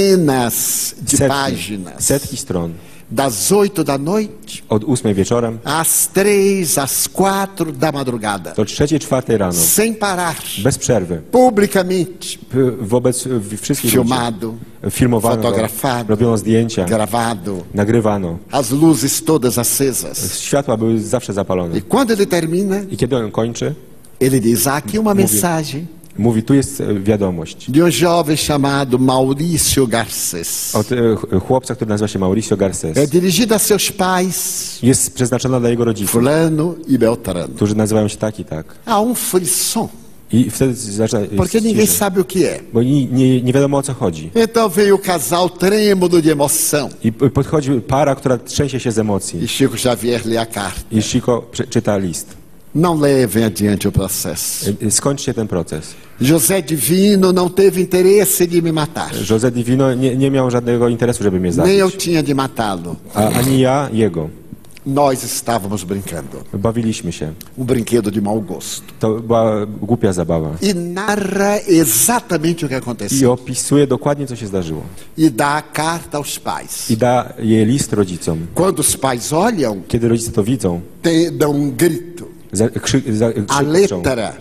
[SPEAKER 3] Centenas de
[SPEAKER 2] Setki,
[SPEAKER 3] páginas.
[SPEAKER 2] setki stron.
[SPEAKER 3] Das oito da noite
[SPEAKER 2] Od ósmej wieczorem
[SPEAKER 3] às três, às quatro da madrugada.
[SPEAKER 2] do trzeciej, czwartej rano.
[SPEAKER 3] Sem parar.
[SPEAKER 2] Bez przerwy.
[SPEAKER 3] Publicamente.
[SPEAKER 2] P- Wobec e, w- wszystkich ludzi.
[SPEAKER 3] Filmado,
[SPEAKER 2] Filmowano, go,
[SPEAKER 3] fotografado.
[SPEAKER 2] robiono zdjęcia,
[SPEAKER 3] gravado.
[SPEAKER 2] nagrywano.
[SPEAKER 3] As luzes todas acesas.
[SPEAKER 2] Światła były zawsze zapalone.
[SPEAKER 3] E quando ele termina,
[SPEAKER 2] I kiedy on kończy,
[SPEAKER 3] ele diz: há aqui uma mensagem
[SPEAKER 2] mówi, tu jest e, wiadomość.
[SPEAKER 3] de um jovem chamado Maurício Garces.
[SPEAKER 2] Od e, ch- chłopca, który nazywa się Mauricio Garces.
[SPEAKER 3] É dirigida a seus pais,
[SPEAKER 2] Jest przeznaczona dla jego rodziców,
[SPEAKER 3] Fulano e Beltrano.
[SPEAKER 2] którzy nazywają się tak i tak.
[SPEAKER 3] Há um frisson,
[SPEAKER 2] I wtedy zaczyna... jest
[SPEAKER 3] porque ninguém
[SPEAKER 2] cisza,
[SPEAKER 3] sabe o que é.
[SPEAKER 2] Bo nie, nie, nie wiadomo o co chodzi.
[SPEAKER 3] Então veio o casal trêmulo de emoção.
[SPEAKER 2] I p- podchodzi para, która trzęsie się z
[SPEAKER 3] E
[SPEAKER 2] emocji.
[SPEAKER 3] Chico Xavier lê a carta.
[SPEAKER 2] I Chico prze- czyta list.
[SPEAKER 3] Não levem adiante o processo.
[SPEAKER 2] E, e, Skończcie ten proces.
[SPEAKER 3] José Divino não teve interesse de me matar.
[SPEAKER 2] É, José Divino nie, nie miał żadnego interesu, żeby mnie
[SPEAKER 3] Nem eu
[SPEAKER 2] zabić.
[SPEAKER 3] tinha de matá-lo.
[SPEAKER 2] A, ani ja, jego.
[SPEAKER 3] Nós estávamos brincando.
[SPEAKER 2] Bawiliśmy się.
[SPEAKER 3] Um brinquedo de mau gosto.
[SPEAKER 2] To była głupia zabawa.
[SPEAKER 3] E narra exatamente o que
[SPEAKER 2] I
[SPEAKER 3] aconteceu.
[SPEAKER 2] opisuje dokładnie, co się zdarzyło.
[SPEAKER 3] E dá a carta aos pais.
[SPEAKER 2] I da jej list rodzicom.
[SPEAKER 3] Quando os pais olham,
[SPEAKER 2] Kiedy rodzice to widzą,
[SPEAKER 3] tem, dão um grito.
[SPEAKER 2] za, krzy, za,
[SPEAKER 3] A
[SPEAKER 2] krzyczą.
[SPEAKER 3] letra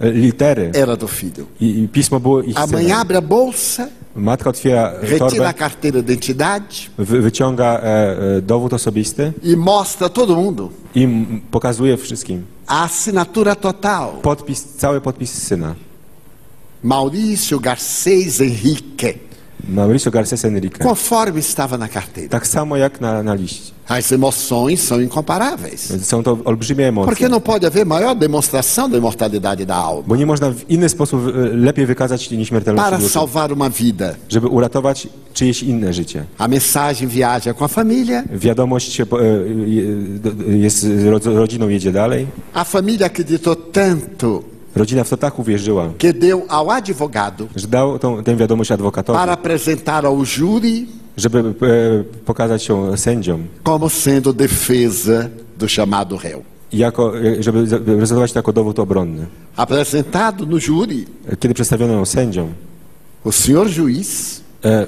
[SPEAKER 2] E, Litery.
[SPEAKER 3] era do filho.
[SPEAKER 2] I, I pismo było ich
[SPEAKER 3] A mãe
[SPEAKER 2] synem.
[SPEAKER 3] abre a bolsa,
[SPEAKER 2] Matka otwiera e,
[SPEAKER 3] retira
[SPEAKER 2] torbę,
[SPEAKER 3] a carteira de identidade
[SPEAKER 2] wy, wyciąga e, e, dowód osobisty
[SPEAKER 3] e mostra a todo mundo
[SPEAKER 2] i m, pokazuje wszystkim.
[SPEAKER 3] a assinatura total.
[SPEAKER 2] Podpis, cały podpis syna.
[SPEAKER 3] Maurício Garcês Henrique,
[SPEAKER 2] Mauricio Garces Enrique.
[SPEAKER 3] conforme estava na carteira.
[SPEAKER 2] Tak samo jak na, na liście.
[SPEAKER 3] As emoções são incomparáveis.
[SPEAKER 2] Są to olbrzymie
[SPEAKER 3] Porque
[SPEAKER 2] emocje.
[SPEAKER 3] não pode haver maior demonstração da imortalidade da alma.
[SPEAKER 2] Bo nie można w inny sposób e, lepiej wykazać nieśmiertelności
[SPEAKER 3] Para
[SPEAKER 2] duszy,
[SPEAKER 3] salvar uma vida,
[SPEAKER 2] żeby uratować czyjeś inne życie.
[SPEAKER 3] a mensagem viaja com a família,
[SPEAKER 2] Wiadomość się, po- e, e, do- jest z ro- rodziną, jedzie dalej.
[SPEAKER 3] a família acreditou tanto
[SPEAKER 2] Rodzina w to tak uwierzyła,
[SPEAKER 3] que deu ao advogado
[SPEAKER 2] że dał tą, tę wiadomość adwokatowi,
[SPEAKER 3] para apresentar ao júri
[SPEAKER 2] żeby e, pokazać ją sędziom,
[SPEAKER 3] como sendo defesa do chamado réu.
[SPEAKER 2] jako, e, żeby za- prezentować to jako dowód obronny.
[SPEAKER 3] Apresentado no júri,
[SPEAKER 2] E, Kiedy przedstawiono ją sędziom,
[SPEAKER 3] o senhor juiz
[SPEAKER 2] e,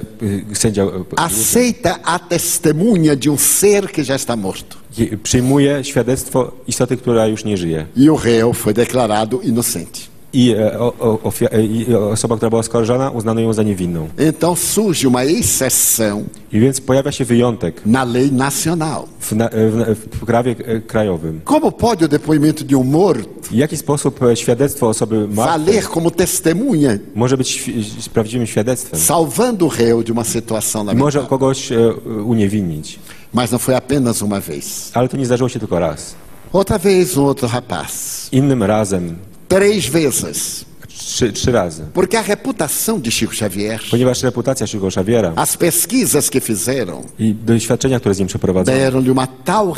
[SPEAKER 2] e, sędzia e,
[SPEAKER 3] aceita a testemunha de um ser que já está morto.
[SPEAKER 2] e, przyjmuje świadectwo istoty, która już nie żyje.
[SPEAKER 3] E o réu foi declarado inocente.
[SPEAKER 2] i, e, o, o, ofia- e i osoba, która była oskarżana, uznano ją za niewinną.
[SPEAKER 3] Então surge uma exceção
[SPEAKER 2] I więc pojawia się wyjątek
[SPEAKER 3] na lei nacional.
[SPEAKER 2] w, na, w, w prawie e, krajowym.
[SPEAKER 3] Como pode o depoimento de um morto
[SPEAKER 2] W jaki sposób e, świadectwo osoby martwej
[SPEAKER 3] valer como testemunha,
[SPEAKER 2] może być świ- prawdziwym świadectwem?
[SPEAKER 3] salvando o réu de uma situação
[SPEAKER 2] Może
[SPEAKER 3] lamentável?
[SPEAKER 2] kogoś e, uniewinnić.
[SPEAKER 3] Mas não foi apenas uma vez.
[SPEAKER 2] Ale to nie zdarzyło się tylko raz.
[SPEAKER 3] Outra vez, um outro rapaz.
[SPEAKER 2] Innym razem,
[SPEAKER 3] Três vezes.
[SPEAKER 2] trzy, trzy razy.
[SPEAKER 3] Porque a reputação de Chico Xavier,
[SPEAKER 2] Ponieważ reputacja Chico Xaviera
[SPEAKER 3] as pesquisas que fizeram,
[SPEAKER 2] i doświadczenia, które z nim przeprowadzono,
[SPEAKER 3] deram-lhe uma tal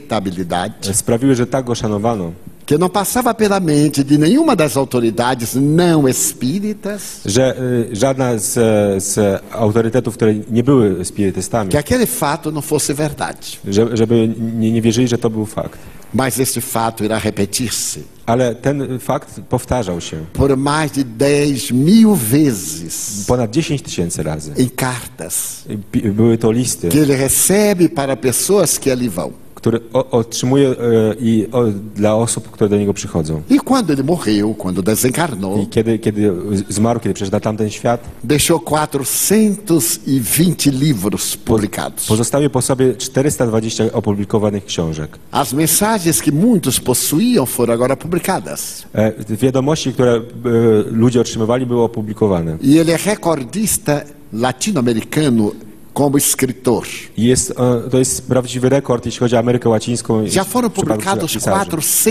[SPEAKER 3] respeitabilidade
[SPEAKER 2] sprawiły, że tak go szanowano,
[SPEAKER 3] que não passava pela mente de nenhuma das autoridades não espíritas
[SPEAKER 2] że y, żadna z, e, z autorytetów, które nie były spirytystami,
[SPEAKER 3] que aquele fato não fosse verdade.
[SPEAKER 2] że, żeby nie, nie wierzyli, że to był fakt.
[SPEAKER 3] Mas esse fato irá repetir-se
[SPEAKER 2] Ale ten fakt powtarzał się
[SPEAKER 3] por mais de 10 mil vezes
[SPEAKER 2] ponad 10 tysięcy razy.
[SPEAKER 3] em cartas
[SPEAKER 2] Pi- Były to listy,
[SPEAKER 3] que ele recebe para pessoas que ali vão.
[SPEAKER 2] które o, otrzymuje e, i o, dla osób, które do niego przychodzą.
[SPEAKER 3] E quando ele morreu, quando
[SPEAKER 2] I
[SPEAKER 3] desencarnou,
[SPEAKER 2] kiedy, kiedy zmarł, kiedy przyszedł na tamten świat,
[SPEAKER 3] deixou 420 livros publicados.
[SPEAKER 2] Pozostawił po sobie 420 opublikowanych książek.
[SPEAKER 3] As mensagens que muitos possuíam foram agora publicadas.
[SPEAKER 2] E, Wiadomości, które e, ludzie otrzymywali, były opublikowane.
[SPEAKER 3] E ele é recordista latino-americano como escritor.
[SPEAKER 2] I Jest, e, to jest prawdziwy rekord, jeśli chodzi o Amerykę Łacińską.
[SPEAKER 3] Já foram
[SPEAKER 2] w przypadku
[SPEAKER 3] publicados
[SPEAKER 2] pisarzy.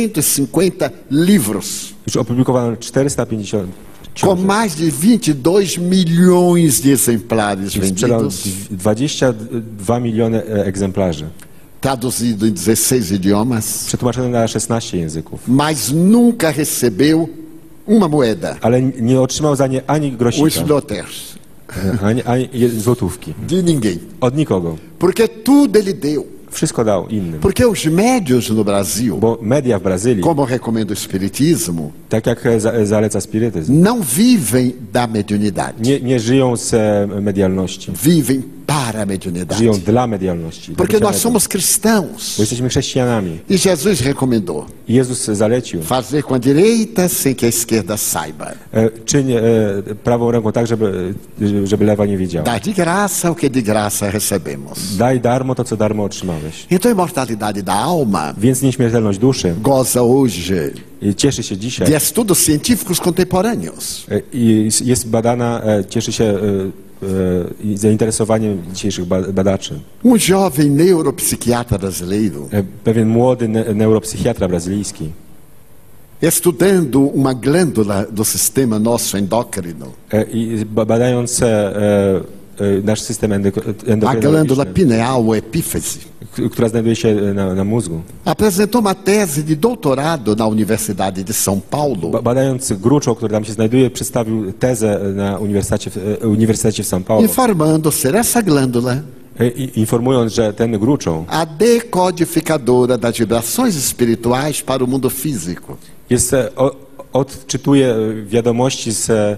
[SPEAKER 3] 450 livros,
[SPEAKER 2] Już opublikowano 450
[SPEAKER 3] com
[SPEAKER 2] książek.
[SPEAKER 3] mais de 22 milhões de exemplares
[SPEAKER 2] I Sprzedał
[SPEAKER 3] vendidos,
[SPEAKER 2] dw- 22 miliony e, egzemplarzy.
[SPEAKER 3] traduzido em 16 idiomas,
[SPEAKER 2] Przetłumaczone na 16 języków.
[SPEAKER 3] mas nunca recebeu uma moeda,
[SPEAKER 2] Ale n- nie otrzymał za nie ani
[SPEAKER 3] um
[SPEAKER 2] grosika,
[SPEAKER 3] slotter,
[SPEAKER 2] e, ani, ani je- złotówki.
[SPEAKER 3] de ninguém.
[SPEAKER 2] Od nikogo.
[SPEAKER 3] Porque tudo ele deu.
[SPEAKER 2] Wszystko dał innym.
[SPEAKER 3] Porque os médios no Brasil,
[SPEAKER 2] Bo media w Brazylii,
[SPEAKER 3] como recomenda o Espiritismo,
[SPEAKER 2] tak jak e, za- e, zaleca spirytyzm,
[SPEAKER 3] não vivem da mediunidade,
[SPEAKER 2] nie, nie żyją z e, medialności.
[SPEAKER 3] vivem para a
[SPEAKER 2] Żyją
[SPEAKER 3] mediunidade.
[SPEAKER 2] dla medialności.
[SPEAKER 3] Porque
[SPEAKER 2] dla
[SPEAKER 3] nós
[SPEAKER 2] bycia
[SPEAKER 3] somos cristãos.
[SPEAKER 2] Bo jesteśmy chrześcijanami.
[SPEAKER 3] E Jesus recomendou
[SPEAKER 2] I Jezus zalecił.
[SPEAKER 3] fazer com a direita sem que a esquerda saiba,
[SPEAKER 2] E, czyń e, prawą ręką tak, żeby, e, żeby lewa nie wiedziała.
[SPEAKER 3] dar de graça o que de graça recebemos.
[SPEAKER 2] Daj darmo to, co darmo otrzymałeś.
[SPEAKER 3] Então a imortalidade da alma
[SPEAKER 2] Więc nieśmiertelność duszy
[SPEAKER 3] goza hoje
[SPEAKER 2] e, cieszy się
[SPEAKER 3] de
[SPEAKER 2] dzisiaj.
[SPEAKER 3] estudos científicos contemporâneos.
[SPEAKER 2] E, I s- jest badana, e, cieszy się e, e, i zainteresowaniem dzisiejszych ba- badaczy.
[SPEAKER 3] Um jovem neuropsiquiatra brasileiro,
[SPEAKER 2] E, Pewien młody ne- neuropsychiatra brazylijski,
[SPEAKER 3] estudando uma glândula do sistema nosso endócrino,
[SPEAKER 2] e, i ba- badając e, e, nasz system endokryn-
[SPEAKER 3] a glândula
[SPEAKER 2] endokrynologiczny,
[SPEAKER 3] pineal ou epífese,
[SPEAKER 2] k- która znajduje się e, na, na mózgu.
[SPEAKER 3] apresentou uma tese de doutorado na Universidade de São
[SPEAKER 2] Ba-
[SPEAKER 3] Paulo
[SPEAKER 2] Badając gruczoł, który tam się znajduje, przedstawił tezę na Uniwersytecie w, e, Uniwersytecie w São Paulo,
[SPEAKER 3] informando ser essa glândula
[SPEAKER 2] e, i- informując, że ten gruczoł
[SPEAKER 3] a decodificadora das vibrações espirituais para o mundo físico.
[SPEAKER 2] jest, e, o, odczytuje e, wiadomości z, e, e,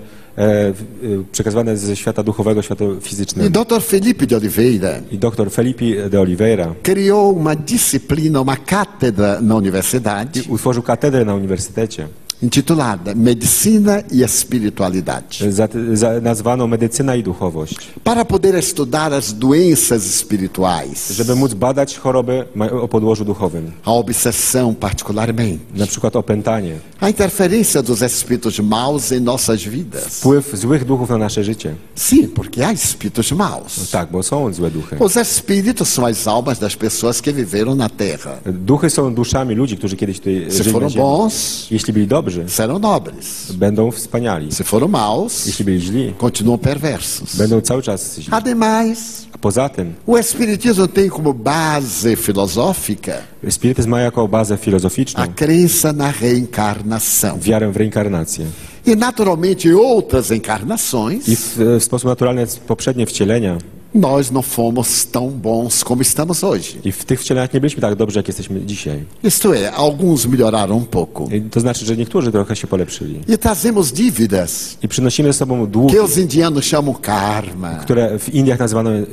[SPEAKER 2] w- e, przekazywane ze świata duchowego, świata
[SPEAKER 3] E
[SPEAKER 2] fizycznego.
[SPEAKER 3] Dr. Felipe de Oliveira
[SPEAKER 2] I doktor Felipe de Oliveira
[SPEAKER 3] criou uma disciplina, uma cátedra na universidade,
[SPEAKER 2] utworzył katedrę na uniwersytecie,
[SPEAKER 3] intitulada Medicina e Espiritualidade,
[SPEAKER 2] e, za, za, nazwaną Medycyna i Duchowość,
[SPEAKER 3] para poder estudar as doenças espirituais,
[SPEAKER 2] żeby móc badać choroby ma- o podłożu duchowym,
[SPEAKER 3] a obsessão particularmente,
[SPEAKER 2] na przykład opętanie,
[SPEAKER 3] a interferência dos espíritos maus em nossas vidas.
[SPEAKER 2] wpływ złych duchów na nasze życie.
[SPEAKER 3] Sim, porque há espíritos maus.
[SPEAKER 2] Tak, bo są złe duchy.
[SPEAKER 3] Os espíritos são as almas das pessoas que viveram na Terra.
[SPEAKER 2] Duchy są duszami ludzi, którzy kiedyś tutaj
[SPEAKER 3] Se
[SPEAKER 2] żyli na
[SPEAKER 3] foram
[SPEAKER 2] ziemi.
[SPEAKER 3] bons,
[SPEAKER 2] Jeśli byli dobrzy,
[SPEAKER 3] serão nobres.
[SPEAKER 2] będą wspaniali.
[SPEAKER 3] Se foram maus,
[SPEAKER 2] Jeśli byli źli,
[SPEAKER 3] continuam perversos.
[SPEAKER 2] będą cały czas źli.
[SPEAKER 3] Ademais,
[SPEAKER 2] A poza tym,
[SPEAKER 3] o Espiritismo tem como base filosófica
[SPEAKER 2] spirytyzm ma jako bazę
[SPEAKER 3] a
[SPEAKER 2] filozoficzną
[SPEAKER 3] crença na reencarnação.
[SPEAKER 2] wiarę w reinkarnację.
[SPEAKER 3] E, naturalmente, outras encarnações
[SPEAKER 2] I w, w sposób naturalny poprzednie wcielenia
[SPEAKER 3] nós não fomos tão bons como estamos hoje.
[SPEAKER 2] I w tych wcieleniach nie byliśmy tak dobrze, jak jesteśmy dzisiaj.
[SPEAKER 3] Isto é, alguns melhoraram um pouco.
[SPEAKER 2] I to znaczy, że niektórzy trochę się polepszyli.
[SPEAKER 3] E trazemos dívidas
[SPEAKER 2] I przynosimy ze sobą długi,
[SPEAKER 3] que os indianos chamam karma.
[SPEAKER 2] które w Indiach nazywano e, e,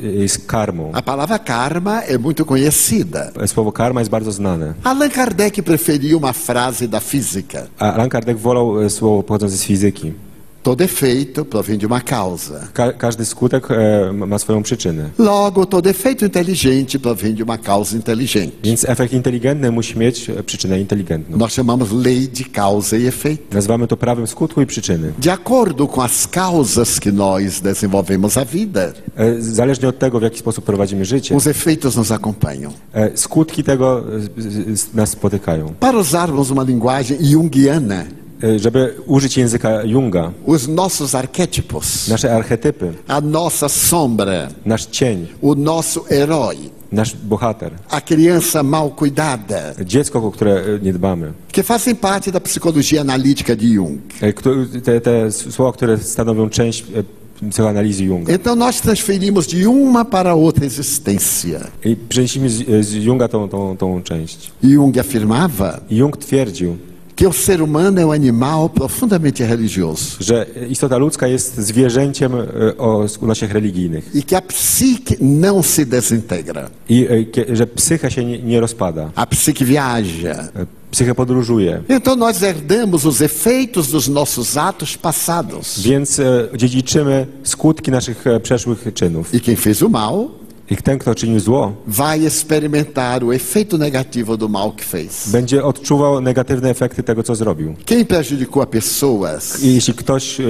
[SPEAKER 2] karmą.
[SPEAKER 3] A palavra karma é muito conhecida.
[SPEAKER 2] Słowo karma jest bardzo znane.
[SPEAKER 3] Allan Kardec preferia uma frase da física:
[SPEAKER 2] A Allan Kardec wolał e, słowo pochodzące z fizyki.
[SPEAKER 3] todo efeito provém de uma causa.
[SPEAKER 2] Ka każdy skutek e, ma swoją przyczynę.
[SPEAKER 3] Logo, todo efeito inteligente provém de uma causa inteligente.
[SPEAKER 2] Więc efekt inteligentny musi mieć e, przyczynę inteligentną.
[SPEAKER 3] Nós chamamos lei de causa e efeito.
[SPEAKER 2] Nazywamy to prawem skutku i przyczyny.
[SPEAKER 3] De acordo com as causas que nós desenvolvemos a vida,
[SPEAKER 2] E, Zależnie od tego, w jaki sposób prowadzimy życie,
[SPEAKER 3] os efeitos nos acompanham.
[SPEAKER 2] e, skutki tego e, z- z- nas spotykają.
[SPEAKER 3] Para usarmos uma linguagem junguiana,
[SPEAKER 2] E, Żeby użyć języka Junga,
[SPEAKER 3] os nossos arquétipos,
[SPEAKER 2] nasze archetypy,
[SPEAKER 3] a nossa sombra,
[SPEAKER 2] nasz cień,
[SPEAKER 3] o nosso herói,
[SPEAKER 2] nasz bohater,
[SPEAKER 3] a criança mal cuidada,
[SPEAKER 2] dziecko, o które e, nie dbamy,
[SPEAKER 3] que fazem parte da psicologia analítica de Jung.
[SPEAKER 2] E, któ- te, te s- słowa, które stanowią część e, psychoanalizy Junga.
[SPEAKER 3] Então nós transferimos de uma para outra existência.
[SPEAKER 2] I przenieśmy z, e, z Junga tą, tą, tą część.
[SPEAKER 3] Jung afirmava
[SPEAKER 2] Jung twierdził,
[SPEAKER 3] que o ser humano é um animal profundamente religioso
[SPEAKER 2] że istota ludzka jest zwierzęciem e, o skłonnościach religijnych
[SPEAKER 3] e que a psique não se desintegra.
[SPEAKER 2] i e, kie- że psycha się nie, nie rozpada,
[SPEAKER 3] A psique viaja.
[SPEAKER 2] E, psycha podróżuje.
[SPEAKER 3] Então nós herdamos os efeitos dos nossos atos passados.
[SPEAKER 2] Więc e, dziedziczymy skutki naszych e, przeszłych czynów.
[SPEAKER 3] E quem fez o mal
[SPEAKER 2] I ten, kto czynił zło,
[SPEAKER 3] vai experimentar o efeito negativo do mal que fez.
[SPEAKER 2] będzie odczuwał negatywne efekty tego, co zrobił.
[SPEAKER 3] Quem prejudicou a pessoas
[SPEAKER 2] I jeśli ktoś e,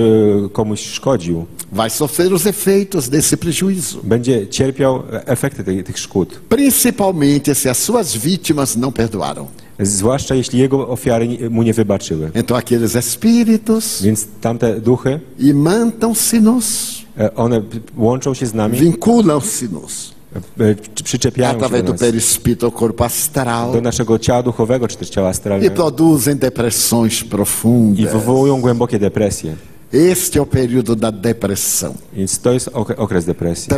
[SPEAKER 2] komuś szkodził,
[SPEAKER 3] vai sofrer os efeitos desse prejuízo.
[SPEAKER 2] będzie cierpiał efekty tych, tych szkód.
[SPEAKER 3] Principalmente se as suas vítimas não perdoaram.
[SPEAKER 2] Zwłaszcza jeśli jego ofiary ni- mu nie wybaczyły.
[SPEAKER 3] Então aqueles espíritos
[SPEAKER 2] Więc tamte duchy,
[SPEAKER 3] imantam-se-nos,
[SPEAKER 2] e, one p- łączą się z nami,
[SPEAKER 3] vinculam-se-nos
[SPEAKER 2] e, przy- przyczepiają się
[SPEAKER 3] através
[SPEAKER 2] do,
[SPEAKER 3] do
[SPEAKER 2] nas,
[SPEAKER 3] perispírito ao corpo astral
[SPEAKER 2] do naszego ciała duchowego, czy też ciała
[SPEAKER 3] e
[SPEAKER 2] astralnego
[SPEAKER 3] produzem depressões
[SPEAKER 2] i
[SPEAKER 3] profundas.
[SPEAKER 2] wywołują głębokie depresje.
[SPEAKER 3] Este é o período da depressão.
[SPEAKER 2] Więc to jest ok- okres depresji.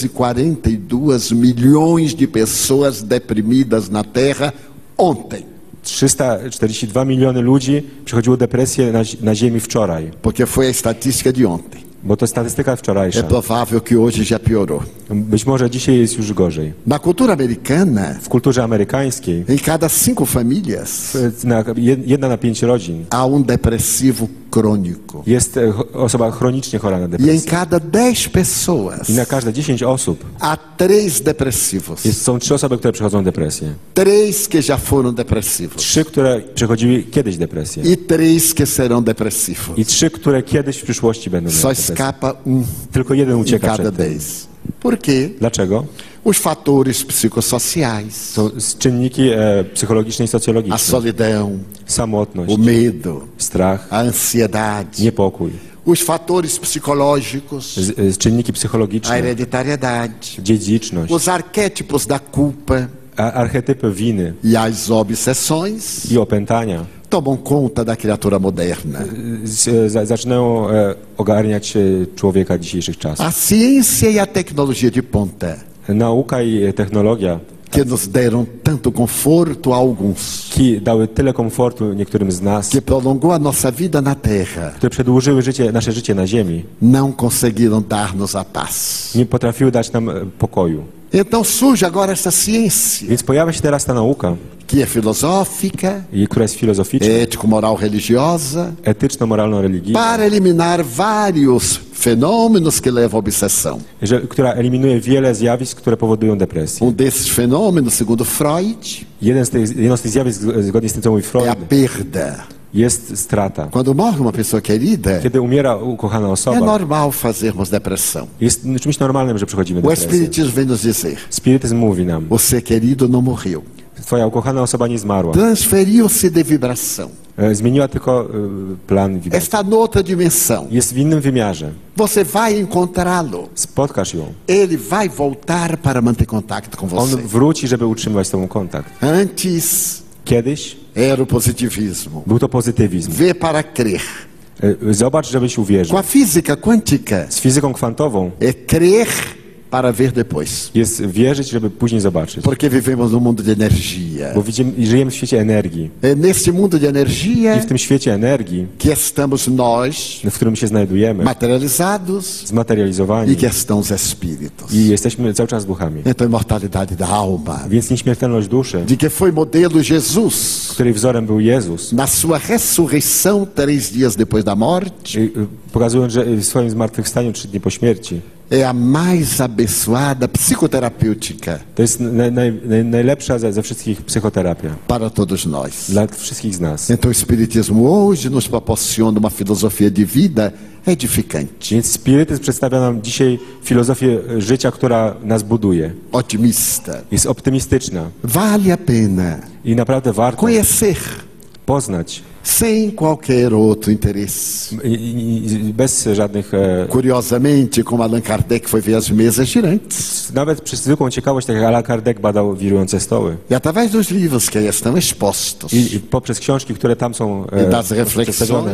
[SPEAKER 3] 342 milhões de pessoas deprimidas na Terra ontem,
[SPEAKER 2] 342 miliony ludzi przechodziło depresję na, zi- na ziemi wczoraj,
[SPEAKER 3] porque foi a estatística de ontem.
[SPEAKER 2] bo to statystyka
[SPEAKER 3] É
[SPEAKER 2] wczorajsza.
[SPEAKER 3] provável que hoje já piorou.
[SPEAKER 2] Być może dzisiaj jest już gorzej.
[SPEAKER 3] Na cultura americana,
[SPEAKER 2] W kulturze amerykańskiej
[SPEAKER 3] em cada cinco famílias,
[SPEAKER 2] e, na, jed- jedna na pięć rodzin
[SPEAKER 3] há um depressivo crônico.
[SPEAKER 2] jest e, cho- osoba chronicznie chora na
[SPEAKER 3] E em
[SPEAKER 2] depresję.
[SPEAKER 3] cada dez pessoas,
[SPEAKER 2] I na każde 10 osób
[SPEAKER 3] há três depressivos.
[SPEAKER 2] jest, są trzy osoby, które przechodzą depresję.
[SPEAKER 3] Três que já foram depressivos.
[SPEAKER 2] Trzy, które przechodziły kiedyś depresję.
[SPEAKER 3] E três que serão depressivos.
[SPEAKER 2] I trzy, które kiedyś w przyszłości będą miały
[SPEAKER 3] Só
[SPEAKER 2] depresję.
[SPEAKER 3] escapa um
[SPEAKER 2] Tylko jeden
[SPEAKER 3] em
[SPEAKER 2] ucieka
[SPEAKER 3] cada
[SPEAKER 2] przed tym.
[SPEAKER 3] dez. Por quê?
[SPEAKER 2] Dlaczego?
[SPEAKER 3] Os fatores psicossociais,
[SPEAKER 2] To z czynniki e, psychologiczne i
[SPEAKER 3] a
[SPEAKER 2] socjologiczne.
[SPEAKER 3] solidão,
[SPEAKER 2] Samotność,
[SPEAKER 3] o medo,
[SPEAKER 2] strach,
[SPEAKER 3] a ansiedade,
[SPEAKER 2] niepokój.
[SPEAKER 3] os fatores psicológicos,
[SPEAKER 2] Z, z czynniki
[SPEAKER 3] a
[SPEAKER 2] psychologiczne,
[SPEAKER 3] hereditariedade,
[SPEAKER 2] dziedziczność,
[SPEAKER 3] os arquétipos da culpa
[SPEAKER 2] a, archetypy winy
[SPEAKER 3] e as obsessões
[SPEAKER 2] i opętania
[SPEAKER 3] tomam conta da criatura moderna.
[SPEAKER 2] z, za, zaczynają e, ogarniać e, człowieka dzisiejszych czasów.
[SPEAKER 3] A ciência e a tecnologia de ponta,
[SPEAKER 2] Nauka i e, technologia
[SPEAKER 3] que nos deram tanto conforto a alguns,
[SPEAKER 2] ki dały tyle komfortu niektórym z nas,
[SPEAKER 3] que prolongou a nossa vida na Terra,
[SPEAKER 2] które przedłużyły życie, nasze życie na ziemi,
[SPEAKER 3] não conseguiram dar-nos a paz.
[SPEAKER 2] nie potrafiły dać nam e, pokoju.
[SPEAKER 3] Então surge agora essa ciência.
[SPEAKER 2] Więc pojawia się teraz ta nauka,
[SPEAKER 3] que é filosófica,
[SPEAKER 2] i- która jest filozoficzna,
[SPEAKER 3] E- ético-moral religiosa,
[SPEAKER 2] etyczno-moralno-religijna,
[SPEAKER 3] para eliminar vários fenômenos que levam à obsessão.
[SPEAKER 2] że, która eliminuje wiele zjawisk, które powodują depresję.
[SPEAKER 3] Um desses fenômenos, segundo Freud,
[SPEAKER 2] Jeden z tych, jedno z tych zjawisk, z- zgodnie z tym, co mówi
[SPEAKER 3] é a
[SPEAKER 2] Freud,
[SPEAKER 3] perda.
[SPEAKER 2] jest strata.
[SPEAKER 3] Quando morre uma pessoa querida,
[SPEAKER 2] Kiedy umiera ukochana
[SPEAKER 3] é
[SPEAKER 2] osoba,
[SPEAKER 3] normal fazermos depressão.
[SPEAKER 2] jest czymś normalnym, że przechodzimy
[SPEAKER 3] O
[SPEAKER 2] depresję.
[SPEAKER 3] Espiritismo vem nos dizer:
[SPEAKER 2] Spirytyzm mówi nam,
[SPEAKER 3] você querido não morreu.
[SPEAKER 2] twoja ukochana osoba nie zmarła,
[SPEAKER 3] Transferiu-se de vibração.
[SPEAKER 2] E, zmieniła tylko e, plan wibracji.
[SPEAKER 3] Está noutra dimensão.
[SPEAKER 2] Jest w innym wymiarze.
[SPEAKER 3] Você vai encontrá-lo.
[SPEAKER 2] Spotkasz ją.
[SPEAKER 3] Ele vai voltar para manter contato com
[SPEAKER 2] On
[SPEAKER 3] você.
[SPEAKER 2] wróci, żeby utrzymywać z tobą kontakt.
[SPEAKER 3] Antes
[SPEAKER 2] Kiedyś
[SPEAKER 3] era o positivismo.
[SPEAKER 2] był to pozytywizm.
[SPEAKER 3] Vê para crer.
[SPEAKER 2] E, Zobacz, żebyś
[SPEAKER 3] Com
[SPEAKER 2] uwierzył.
[SPEAKER 3] a física quântica,
[SPEAKER 2] Z fizyką kwantową
[SPEAKER 3] é crer para ver depois.
[SPEAKER 2] Jest wierzyć, żeby później zobaczyć.
[SPEAKER 3] Porque vivemos num mundo de energia.
[SPEAKER 2] Bo widzimy, i żyjemy w świecie energii.
[SPEAKER 3] É neste mundo de
[SPEAKER 2] I
[SPEAKER 3] energia
[SPEAKER 2] w tym świecie energii,
[SPEAKER 3] que estamos nós,
[SPEAKER 2] w którym się znajdujemy,
[SPEAKER 3] materializados, e
[SPEAKER 2] zmaterializowani
[SPEAKER 3] que estão os espíritos.
[SPEAKER 2] i jesteśmy cały czas duchami.
[SPEAKER 3] Então, a imortalidade da alma,
[SPEAKER 2] Więc nieśmiertelność duszy,
[SPEAKER 3] de que foi modelo Jesus
[SPEAKER 2] której wzorem był Jezus,
[SPEAKER 3] na sua ressurreição três dias depois da morte,
[SPEAKER 2] y, y, pokazując, że y, w swoim zmartwychwstaniu trzy dni po śmierci,
[SPEAKER 3] é a mais abençoada psicoterapêutica
[SPEAKER 2] to jest naj, naj, naj, najlepsza ze, ze wszystkich psychoterapia
[SPEAKER 3] para todos nós.
[SPEAKER 2] dla wszystkich z nas.
[SPEAKER 3] Então, o Espiritismo hoje nos proporciona uma filosofia de vida edificante,
[SPEAKER 2] Więc spirytyzm przedstawia nam dzisiaj filozofię y, życia, która nas buduje.
[SPEAKER 3] otimista.
[SPEAKER 2] Jest optymistyczna
[SPEAKER 3] Vale a pena
[SPEAKER 2] i naprawdę warto
[SPEAKER 3] conhecer
[SPEAKER 2] poznać
[SPEAKER 3] sem qualquer outro interesse.
[SPEAKER 2] I- i- i- bez żadnych. E,
[SPEAKER 3] Curiosamente, como Allan Kardec foi ver as mesas girantes.
[SPEAKER 2] nawet przez zwykłą ciekawość, tak jak Allan Kardec badał wirujące stoły.
[SPEAKER 3] E através dos livros que aí estão expostos
[SPEAKER 2] I, I poprzez książki, które tam są
[SPEAKER 3] E das
[SPEAKER 2] przedstawione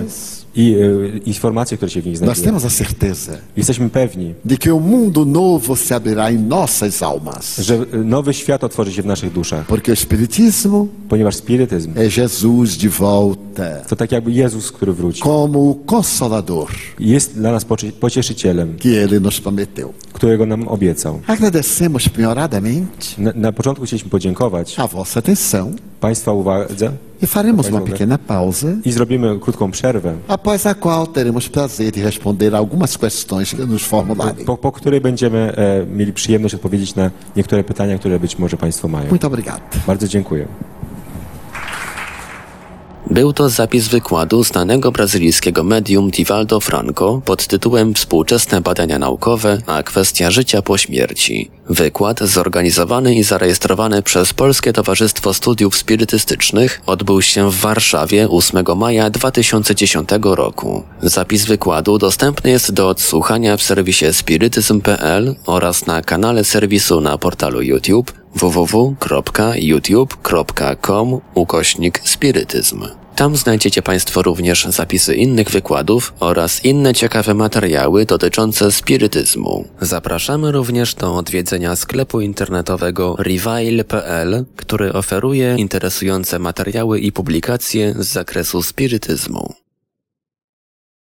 [SPEAKER 3] reflexões.
[SPEAKER 2] i e, informacje, które się w nich
[SPEAKER 3] nós
[SPEAKER 2] znajdują.
[SPEAKER 3] temos a certeza
[SPEAKER 2] Jesteśmy pewni,
[SPEAKER 3] de que o mundo novo se abrirá em nossas almas.
[SPEAKER 2] że e, nowy świat otworzy się w naszych duszach,
[SPEAKER 3] Porque o Espiritismo
[SPEAKER 2] ponieważ spirytyzm
[SPEAKER 3] é Jesus de volta
[SPEAKER 2] to tak jakby Jezus, który wróci.
[SPEAKER 3] como o Consolador
[SPEAKER 2] Jest dla nas pocie- pocieszycielem,
[SPEAKER 3] que ele nos prometeu.
[SPEAKER 2] którego nam obiecał.
[SPEAKER 3] Agradecemos penhoradamente
[SPEAKER 2] Na, na początku chcieliśmy podziękować
[SPEAKER 3] a vossa atenção
[SPEAKER 2] Państwa uwadze
[SPEAKER 3] e faremos uma pequena pausa.
[SPEAKER 2] i zrobimy krótką przerwę,
[SPEAKER 3] após a qual teremos prazer de responder algumas questões que nos formularem.
[SPEAKER 2] po, po której będziemy e, mieli przyjemność odpowiedzieć na niektóre pytania, które być może Państwo mają.
[SPEAKER 3] Muito obrigado.
[SPEAKER 2] Bardzo dziękuję.
[SPEAKER 1] Był to zapis wykładu znanego brazylijskiego medium Divaldo Franco pod tytułem Współczesne badania naukowe, a kwestia życia po śmierci. Wykład zorganizowany i zarejestrowany przez Polskie Towarzystwo Studiów Spirytystycznych odbył się w Warszawie 8 maja 2010 roku. Zapis wykładu dostępny jest do odsłuchania w serwisie spirytyzm.pl oraz na kanale serwisu na portalu YouTube www.youtube.com ukośnik spirytyzm. Tam znajdziecie Państwo również zapisy innych wykładów oraz inne ciekawe materiały dotyczące spirytyzmu. Zapraszamy również do odwiedzenia sklepu internetowego revival.pl, który oferuje interesujące materiały i publikacje z zakresu spirytyzmu.